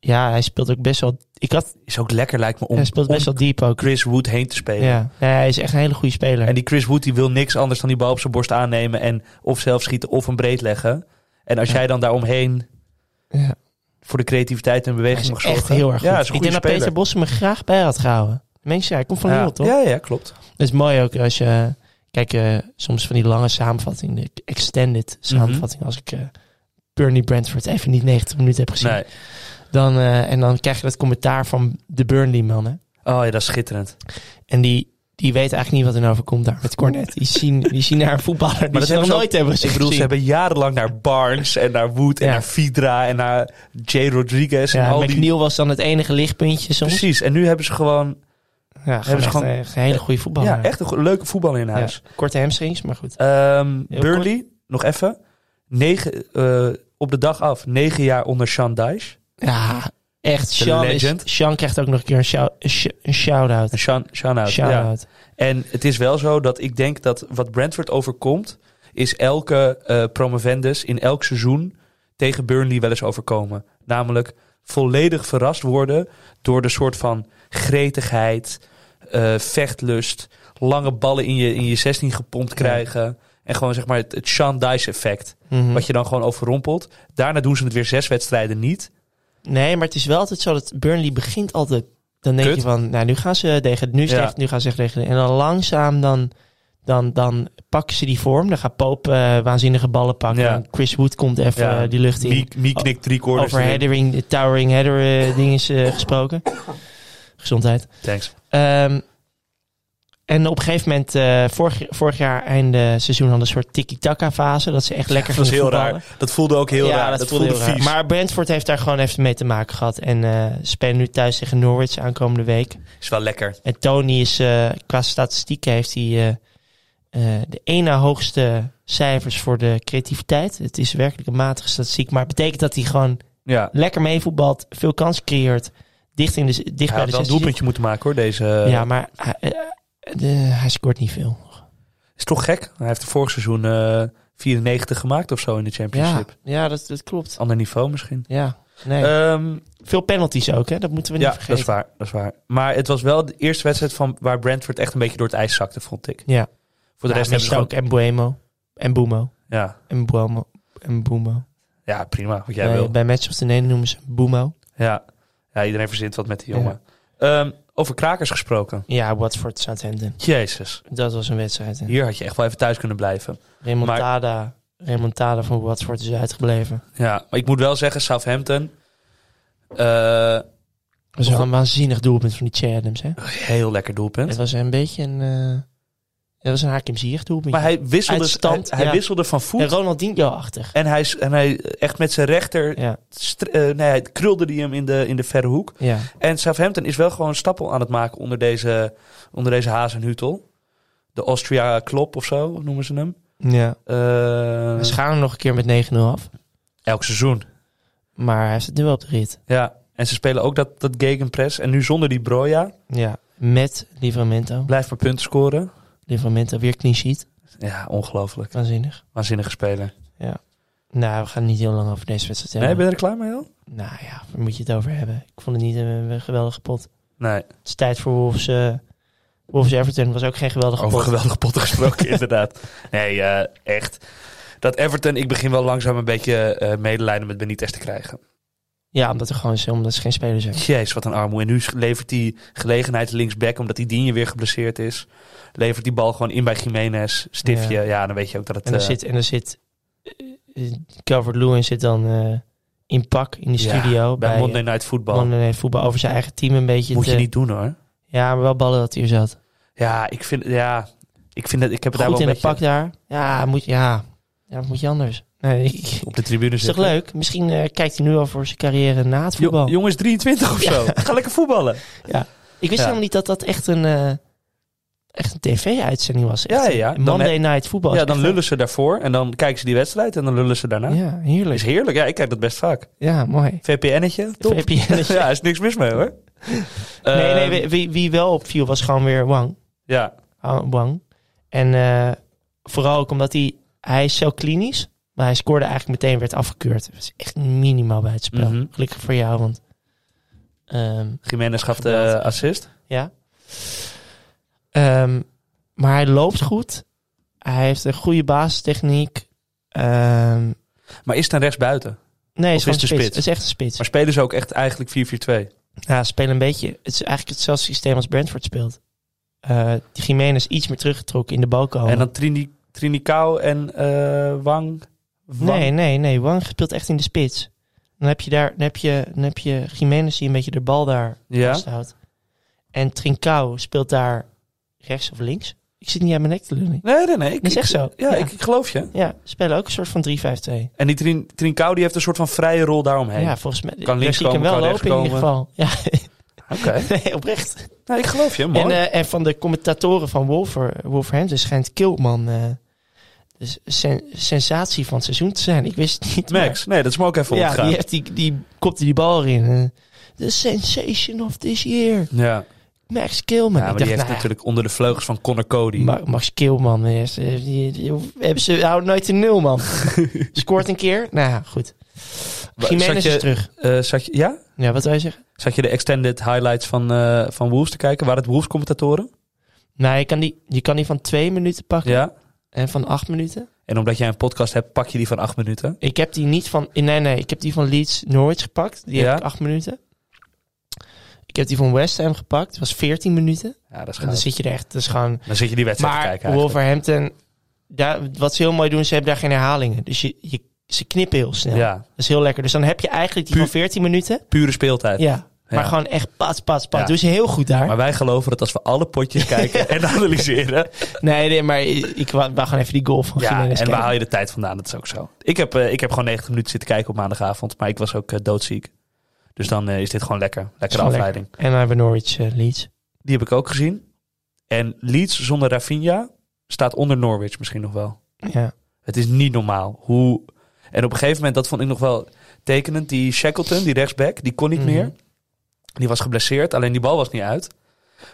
ja, hij speelt ook best wel... Ik had,
Is ook lekker lijkt me om,
hij speelt best
om
wel diep ook.
Chris Wood heen te spelen.
Ja. Nee, hij is echt een hele goede speler.
En die Chris Wood die wil niks anders dan die bal op zijn borst aannemen. En of zelf schieten of een breed leggen. En als
Ja.
jij dan daaromheen
ja.
voor de creativiteit en
Hij
beweging
is
mag zorgen.
echt heel erg goed.
Ja, hij is een
ik
goede
denk dat
speler.
Peter Bos hem er graag bij had gehouden. Mensen, hij komt van
ja.
Lille, toch?
Ja, ja, klopt.
Dat is mooi ook als je... Kijk, eh, soms van die lange samenvattingen, de extended
Mhm.
samenvatting. Als ik eh Burnley Brentford even niet 90 minuten heb gezien.
Nee.
Dan, eh, en dan krijg je dat commentaar van de Burnley-mannen.
Oh ja, dat is schitterend.
En die, die weten eigenlijk niet wat er nou overkomt daar met Cornet. Die zien, die zien naar een voetballer die
dat
ze nog
hebben ze ook-
nooit hebben gezien.
Ik bedoel, ze hebben jarenlang naar Barnes en naar Wood en
Ja.
naar Vidra en naar Jay Rodriguez en
ja,
al die...
McNeil was dan het enige lichtpuntje soms.
Precies, en nu hebben ze gewoon
Ja,
Hebben
hebben
ze
ze
gewoon-
gewoon echt een hele goede voetballer.
ja, echt een go- leuke voetballer in
Ja,
huis.
korte hamstrings, maar goed.
Ehm,
Heel
Burnley, nog even. Negen, eh, op de dag af, negen jaar onder Sean Dyche.
Ja, echt. Sean, is,
legend.
Sean krijgt ook nog een keer een shout- een sh- een shout-out.
En Sean, Sean out, ja.
Shout-out.
En het is wel zo dat ik denk dat wat Brentford overkomt, is elke eh, promovendus in elk seizoen tegen Burnley wel eens overkomen. Namelijk volledig verrast worden door de soort van gretigheid, eh, vechtlust, lange ballen in je, in je 16 gepompt krijgen. En gewoon zeg maar het, het Sean Dyche effect,
Mhm.
wat je dan gewoon overrompelt. Daarna doen ze het weer zes wedstrijden niet.
Nee, maar het is wel altijd zo dat Burnley begint altijd. Dan denk
Kut.
je van, nou nu gaan ze tegen, nu is het
Ja.
echt, nu gaan ze echt tegen. En dan langzaam dan, dan, dan pakken ze die vorm. Dan gaat Pope eh, waanzinnige ballen pakken.
Ja.
En Chris Wood komt even
Ja.
eh, die lucht in.
Mie, Mie knikt drie quarters
Over
erin.
headering, de towering header eh, ding is eh, gesproken. Gezondheid.
Thanks.
Ehm, en op een gegeven moment, eh, vorig, vorig jaar einde seizoen hadden een soort tiki-taka fase. Dat ze echt lekker
Dat was
gingen
heel
voetballen.
raar. Dat voelde ook heel raar. Dat, voelde,
heel raar.
vies.
Maar Brentford heeft daar gewoon even mee te maken gehad. En eh spelen nu thuis tegen Norwich aankomende week.
Is wel lekker.
En Tony is, eh, qua statistieken heeft hij eh, eh, de één na hoogste cijfers voor de creativiteit. Het is werkelijk een matige statistiek. Maar het betekent dat hij gewoon
Ja.
lekker meevoetbalt, veel kansen creëert. Dicht, in de, dicht
Hij had
bij de
wel een
16.
doelpuntje moeten maken hoor, deze.
Ja, maar hij, eh, de- hij scoort niet veel.
Is toch gek? Hij heeft er vorig seizoen eh 94 gemaakt of zo in de
Ja,
Championship.
ja dat, dat klopt.
Ander niveau misschien.
Ja, nee.
Ehm,
Eh, veel penalties ook, hè? Dat moeten we
ja,
niet
dat is
vergeten.
waar, dat is waar. Maar het was wel de eerste wedstrijd van waar Brentford echt een beetje door het ijs zakte, vond ik.
Ja.
Voor de rest hebben ze
ook
gewoon...
en Buemo. En Bumo.
Ja.
En Buomo. En Bumo.
ja, prima, wat jij
bij,
wil.
bij Match of the Nene noemen ze Bumo.
Ja. ja, iedereen verzint wat met die jongen. Ehm, over krakers gesproken.
Ja, Watford Southampton.
Jezus,
Dat was een wedstrijd. Hè.
hier had je echt wel even thuis kunnen blijven.
Remontada. Remontada van Watford is uitgebleven.
Ja, maar ik moet wel zeggen, Southampton... eh,
Dat was wel een waanzinnig doelpunt van die Che Adams, hè?
heel lekker doelpunt.
Het was een beetje een... eh, dat was een Hakim Ziyech doelpunt.
Maar hij wisselde,
Uit stand,
hij, hij
ja.
wisselde van voet.
En
En,
Ronaldinho-achtig.
hij, s- en hij eh, echt met zijn rechter
Ja,
str- eh, nee, hij krulde die hem in de, in de verre hoek.
ja.
En Southampton is wel gewoon stappen aan het maken onder deze, onder deze Hazenhutel. De Austria Klop of zo noemen ze hem.
ja.
Eh,
Hij schaar hem nog een keer met 9-0 af.
elk seizoen.
Maar hij heeft het nu wel op de rit.
Ja. En ze spelen ook dat, dat gegenpress. En nu zonder die Broja.
Ja. Met Livramento.
Blijft maar punten scoren.
Livramento weer clean sheet.
Ja, ongelooflijk.
Waanzinnig.
Waanzinnige speler.
Nou, we gaan niet heel lang over deze wedstrijd
Nee, ben
hebben.
je er klaar mee al?
Nou ja, waar moet je het over hebben? Ik vond het niet een, een geweldige pot.
Nee.
Het is tijd voor Wolves. eh, Wolves Everton was ook geen geweldige
Over
pot.
geweldige potten gesproken, inderdaad. Nee, eh, echt. Dat Everton, ik begin wel langzaam een beetje eh, medelijden met Benitez te krijgen.
Ja, omdat er gewoon is- omdat ze geen spelers hebben.
Jeez, wat een armoe. En nu levert die gelegenheid linksback, omdat die Digne weer geblesseerd is. Levert die bal gewoon in bij Jiménez, stiftje. Ja,
Ja.
dan weet je ook dat het...
En er
eh,
zit, en er zit eh, Calvert Lewin zit dan eh, in pak in de
ja,
studio
bij,
bij
Monday
eh,
Night Football.
Monday Night voetbal over zijn eigen team een beetje.
Moet
te-
je niet doen hoor.
Ja, maar wel ballen dat hij er zat.
Ja, ik vind... Ja, ik vind dat... Ik heb het daar
Goed
wel
in
een beetje
het pak daar. Ja, moet, ja. ja, wat moet je anders? Nee, ik-
op de tribune
is toch
zitten.
leuk? Misschien eh, kijkt hij nu al voor zijn carrière na het
Jo-
voetbal.
jongens 23 of zo. Ga lekker voetballen.
ik wist
ja.
helemaal niet dat dat echt een, eh, echt een tv-uitzending was. Echt
Ja,
een
ja. Dan
Monday Night voetbal.
Ja,
Echt
dan
een-
lullen ze daarvoor en dan kijken ze die wedstrijd en dan lullen ze daarna.
Ja, heerlijk.
Is heerlijk. Ja, ik kijk dat best vaak.
Ja, mooi.
VPN'tje, top.
VPN.
ja, is niks mis mee hoor.
nee, nee,
Ehm,
wie- wie, wie wel opviel was gewoon weer Wang.
Ja,
Ah, Wang. En eh, vooral ook omdat hij, hij is zo klinisch, maar hij scoorde eigenlijk meteen werd afgekeurd. Dat is echt minimaal bij het spel.
Mhm.
Gelukkig voor jou, want ehm,
Jiménez gaf de
Geweldig.
assist.
ja. Ehm, maar hij loopt goed. Hij heeft een goede basistechniek. Ehm,
Maar is het een rechtsbuiten?
nee,
Of
het is, gewoon
is het een
spits.
spits?
Het is echt een spits.
Maar spelen ze ook echt eigenlijk 4-4-2?
Ja, ze spelen een beetje. Het is eigenlijk hetzelfde systeem als Brentford speelt. Eh Jiménez iets meer teruggetrokken in de bal komen.
En dan Trini, Trinicao en eh, Wang. Wang.
Nee, nee, nee. Wang speelt echt in de spits. Dan heb je daar, dan heb je, dan heb je Jiménez die een beetje de bal daar
Ja,
vasthoudt. En Trincao speelt daar rechts of links. Ik zit niet aan mijn nek te lullen.
nee, nee. nee ik,
Dat is echt zo.
Ja,
ja.
Ik, ik geloof je.
Ja, ze spelen ook een soort van 3-5-2.
En die Trin, Trincao die heeft een soort van vrije rol daaromheen.
Ja, volgens mij.
Kan
Kan
links
zie ik hem
komen, kan
wel lopen
rechts
in ieder geval. Ja,
Oké.
nee, oprecht.
Nou, ik geloof je. Mooi.
En, eh, en van de commentatoren van Wolver, Wolverhampton schijnt Kilman eh de sen- sensatie van het seizoen te zijn. Ik wist het niet. maar-
Max, nee, dat is me ook even
eh, Ja,
opgegaan.
die, heeft die, die kopte die bal erin. eh. The sensation of this year.
Ja.
Max Kilman.
Ja, maar
ik
die
dacht,
heeft
nou,
natuurlijk onder de vleugels van Connor Cody.
Ma- Max Kilman. eh, is, eh, die- die- hebben ze houdt nooit een nul, man. Scoort een keer. Nou ja, goed.
Wa-
Jiménez
zat je-
is terug.
Eh, zat je, ja?
Ja, wat wil je zeggen?
Zat je de extended highlights van, eh van Wolves te kijken? Waren het Wolves-commentatoren?
Nou, je kan, die, je kan die van twee minuten pakken
Ja.
en van acht minuten.
En omdat jij een podcast hebt, pak je die van acht minuten.
Ik heb die niet van... Nee, nee, ik heb die van Leeds Norwich gepakt. Die
Ja.
heb ik acht minuten. Ik heb die van West Ham gepakt. Dat was 14 minuten.
Ja, dat is
En dan
goud.
zit je er echt... Dat is gewoon...
Dan zit je die wedstrijd te
Maar
kijken eigenlijk.
Wolverhampton, daar, wat ze heel mooi doen, ze hebben daar geen herhalingen. Dus je, je, ze knippen heel snel.
Ja,
Dat is heel lekker. Dus dan heb je eigenlijk die
Puur-
van 14 minuten.
pure speeltijd.
Ja. Maar
Ja.
gewoon echt pats, pats, pats.
Ja.
Doen ze heel goed daar.
Maar wij geloven dat als we alle potjes kijken en analyseren...
nee, nee, maar ik, ik wou wou gewoon even die golf van
ja,
Jiménez
en waar
kijken.
haal je de tijd vandaan? Dat is ook zo. Ik heb, eh, ik heb gewoon 90 minuten zitten kijken op maandagavond, maar ik was ook eh, doodziek. Dus dan eh, is dit gewoon lekker. Lekkere
gewoon
afleiding.
En dan hebben we Norwich eh, Leeds.
Die heb ik ook gezien. En Leeds zonder Rafinha staat onder Norwich misschien nog wel.
Ja.
Het is niet normaal. Hoe... En op een gegeven moment, dat vond ik nog wel tekenend, die Shackleton, die rechtsback, die kon niet
Mhm.
meer. Die was geblesseerd, alleen die bal was niet uit.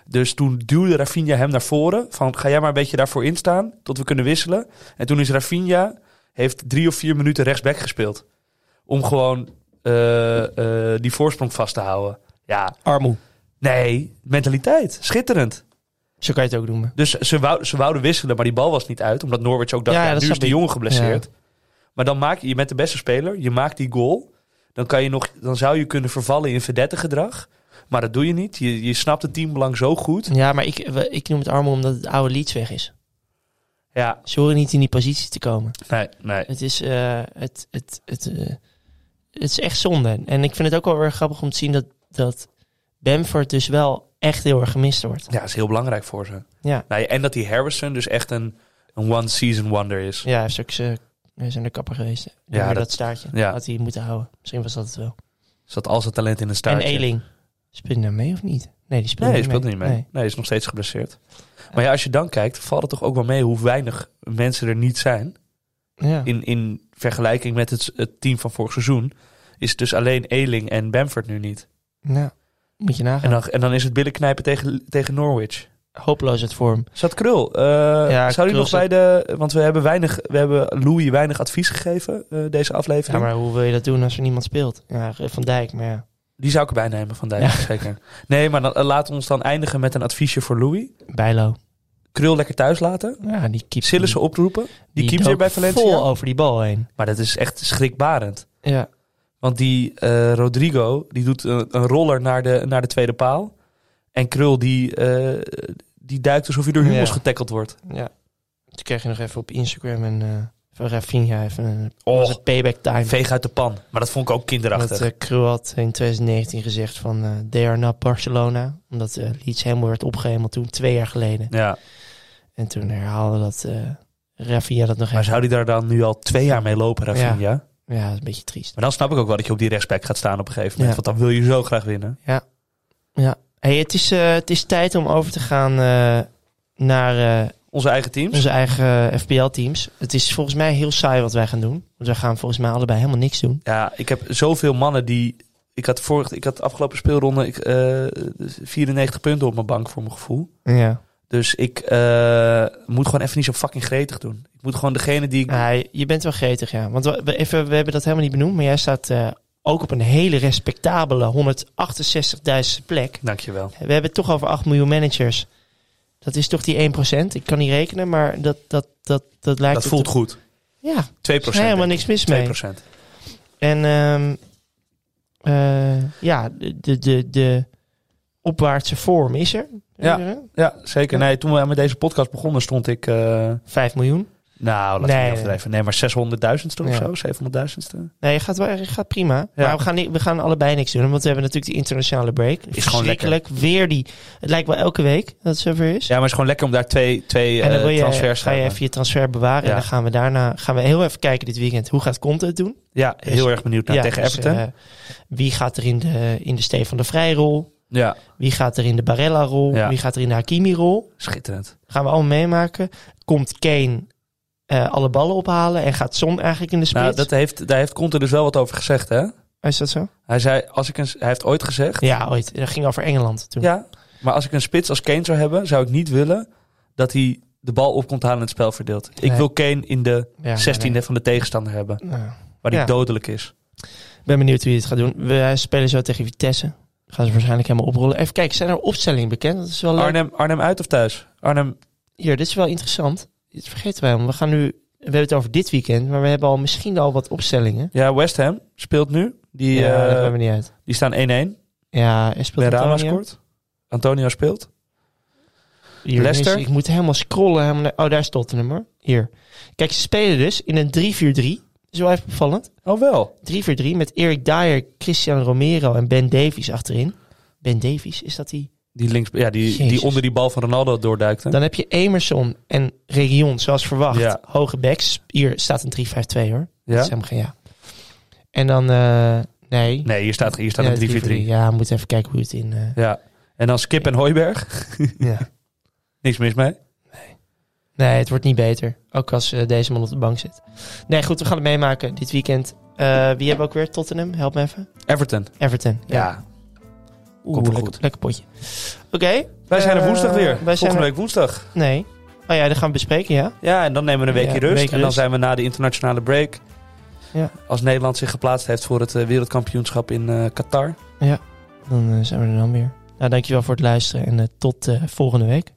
Dus toen duwde Rafinha hem naar voren, van ga jij maar een beetje daarvoor instaan, tot we kunnen wisselen. En toen is Rafinha, heeft drie of vier minuten rechtsback gespeeld. Om gewoon eh, eh, die voorsprong vast te houden. Ja,
Armoe.
nee, mentaliteit, schitterend.
Zo kan je het ook noemen.
Dus ze, wou, ze wouden wisselen, maar die bal was niet uit. Omdat Norwich ook dacht,
Ja,
ja,
dat
nu is
snap
de
ik.
jongen geblesseerd. Maar dan maak je, je bent de beste speler, je maakt die goal. Dan, kan je nog, dan zou je kunnen vervallen in verdette gedrag. Maar dat doe je niet. Je, je snapt het teambelang zo goed.
Ja, maar ik, we- ik noem het armoe omdat het oude Leeds weg is.
Ja,
Ze horen niet in die positie te komen.
nee, nee.
Het is, eh, het, het, het, eh, het is echt zonde. En ik vind het ook wel weer grappig om te zien dat, dat Bamford dus wel echt heel erg gemist wordt.
Ja, dat is heel belangrijk voor ze.
Ja,
Nou, ja, en dat die Harrison dus echt een, een one-season wonder is.
ja hij heeft ook ze hij is aan de kapper geweest. Ja, maar dat,
dat-
staartje
ja.
had hij moeten houden. Misschien was dat het wel.
Dus dat al zijn talent in een staartje.
En Eling. Speelt hij nou mee of niet? Nee, die speelt
Nee, hij
niet
speelt
mee.
niet mee. Nee,
Nee.
hij is nog steeds geblesseerd. Maar ja, als je dan kijkt, valt het toch ook wel mee hoe weinig mensen er niet zijn.
Ja.
In, in vergelijking met het, het team van vorig seizoen is het dus alleen Eling en Bamford nu niet.
Nou, moet je nagaan.
En, dan, en dan is het billen knijpen tegen, tegen Norwich.
Hopeloos het vorm.
Zat Krul, eh, zou
Krul
die nog bij
zat-
de... Want we hebben, weinig, we hebben Louis weinig advies gegeven eh, deze
Ja,
aflevering.
maar hoe wil je dat doen als er niemand speelt? Ja, Van Dijk, maar ja.
Die zou ik erbij nemen van Dijk,
Ja.
zeker. Nee, maar dan, eh, laat ons dan eindigen met een adviesje voor Louis.
Bijlo.
Krul lekker thuis laten.
Ja, die keept...
Sillissen oproepen. Die, keept
dook
weer bij Valencia.
vol over die bal heen.
Maar dat is echt schrikbarend.
Ja.
Want die eh, Rodrigo, die doet een, een roller naar de, naar de tweede paal. En Krul, die, eh, die duikt alsof hij door humus
Ja.
getackeld wordt.
Ja. Toen kreeg je nog even op Instagram een eh van Rafinha even een,
Oh.
was het payback time.
Veeg uit de pan. Maar dat vond ik ook kinderachtig.
Dat eh Krul had in 2019 gezegd van eh they are not Barcelona. Omdat eh Leeds helemaal werd opgehemeld toen, twee jaar geleden.
ja.
En toen herhaalde dat eh Rafinha dat nog
Maar zou die daar dan nu al twee jaar mee lopen, Rafinha?
even. Ja, dat is een beetje triest.
Maar dan snap ik ook wel dat je op die rechtsback gaat staan op een gegeven moment.
Ja.
Want dan wil je zo graag winnen.
Hey, het, is, eh, het is tijd om over te gaan eh, naar eh,
Onze eigen teams.
onze eigen FPL-teams. Het is volgens mij heel saai wat wij gaan doen. Want wij gaan volgens mij allebei helemaal niks doen.
Ja, ik heb zoveel mannen die... Ik had, vorig, ik had de afgelopen speelronde ik, eh, 94 punten op mijn bank voor mijn gevoel.
Ja.
Dus ik eh, moet gewoon even niet zo fucking gretig doen. Ik moet gewoon degene die ik...
Ja, je bent wel gretig, ja. Want we, we- even, we hebben dat helemaal niet benoemd, maar jij staat eh, ook op een hele respectabele 168.000 plek.
Dankjewel.
We hebben het toch over 8 miljoen managers. Dat is toch die 1%? Ik kan niet rekenen, maar dat, dat, dat, dat lijkt...
Dat voelt
het-
goed. 2%.
Ja, er is
denk
helemaal
ik.
niks mis mee.
2%.
En ehm, eh, ja, de, de, de, de opwaartse vorm is er.
Ja. Ja, zeker. Nee, toen we met deze podcast begonnen stond ik... eh,
5 miljoen.
nou, laten we
Nee.
niet overdrijven. Nee, maar 600.000ste
Ja.
of zo? 700.000ste?
Nee, je gaat, wel, je gaat prima. Maar we gaan, niet- we gaan allebei niks doen. Want we hebben natuurlijk die internationale break.
Is gewoon
Verschrikkelijk. Weer die. Het lijkt wel elke week dat het zover is.
Ja, maar het is gewoon lekker om daar twee, twee
en dan
eh,
wil je,
transfers te
ga je
hebben.
even je transfer bewaren. En
Ja.
dan gaan we daarna gaan we heel even kijken dit weekend. Hoe gaat Conte het doen?
Ja, heel
Dus-
erg benieuwd naar tegen
dus,
Everton.
eh, wie gaat er in de, in de Stefan de Vrij rol?
ja,
Wie gaat er in de Barella rol?
Ja.
Wie gaat er in de Hakimi rol?
schitterend.
Gaan we allemaal meemaken. Komt Kane eh, alle ballen ophalen? En gaat Son eigenlijk in de spits? Oh,
Nou, dat heeft, daar heeft Conte dus wel wat over gezegd, hè?
Is dat zo?
Hij zei, als ik een, hij heeft ooit gezegd...
Ja, ooit. Dat ging over Engeland toen.
Ja, maar als ik een spits als Kane zou hebben, zou ik niet willen dat hij de bal op komt halen en het spel verdeelt. Ik
Nee.
wil Kane in de
Ja,
16e
nee,
van de tegenstander hebben,
nee. Nou.
waar hij
Ja.
dodelijk is.
Ik ben benieuwd wie dit gaat doen. We eh, spelen zo tegen Vitesse. Gaan ze waarschijnlijk helemaal oprollen. Even kijken, zijn er opstellingen bekend? Dat is wel leuk.
Arnhem, Arnhem uit of thuis? Arnhem,
Hier, dit is wel interessant. Dit vergeten wij helemaal. We gaan nu... We hebben het over dit weekend, maar we hebben al misschien al wat opstellingen.
ja, West Ham speelt nu. Die,
ja, dat
eh,
hebben we niet uit.
die staan 1-1.
Ja, er speelt
Benrahma
Antonio.
scoort. Antonio speelt.
Hier, nu is-
Leicester.
Ik moet helemaal scrollen. Helemaal naar- oh, daar is Tottenham hoor. Hier. Kijk, ze spelen dus in een 3-4-3. Dat is wel even opvallend.
Oh wel.
3-4-3 met Erik Dyer, Christian Romero en Ben Davies achterin. Ben Davies, is dat die?
Die, links, ja, die, die
Jezus.
onder die bal van Ronaldo doorduikte.
Dan heb je Emerson en Region, zoals verwacht.
Ja.
Hoge backs. Hier staat een 3-5-2 hoor. Dat is
ja?
helemaal geen ja. En dan, eh, nee.
Nee, hier staat, hier staat
Ja,
een 3-4-3.
Ja, we moeten even kijken hoe het in... eh,
Ja. En dan Skip en Hooiberg.
ja.
Niks mis mee.
Nee, het wordt niet beter. Ook als eh, deze man op de bank zit. Nee, goed, we gaan het meemaken dit weekend. Eh, wie hebben we ook weer? Tottenham, help me even.
Everton.
Everton.
Ja.
Oeh,
komt wel
lekker,
goed.
lekker potje. Oké.
Wij zijn er
Eh,
woensdag weer.
wij zijn
Volgende
er-
week woensdag.
Nee. Oh ja, dat gaan we bespreken, ja.
Ja, en dan nemen we een weekje
Ja, een
rust.
weekje
en dan
rust.
zijn we na de internationale break.
Ja.
Als Nederland zich geplaatst heeft voor het eh, wereldkampioenschap in eh, Qatar.
Dan eh, zijn we er dan weer. Nou, dankjewel voor het luisteren en eh, tot eh, volgende week.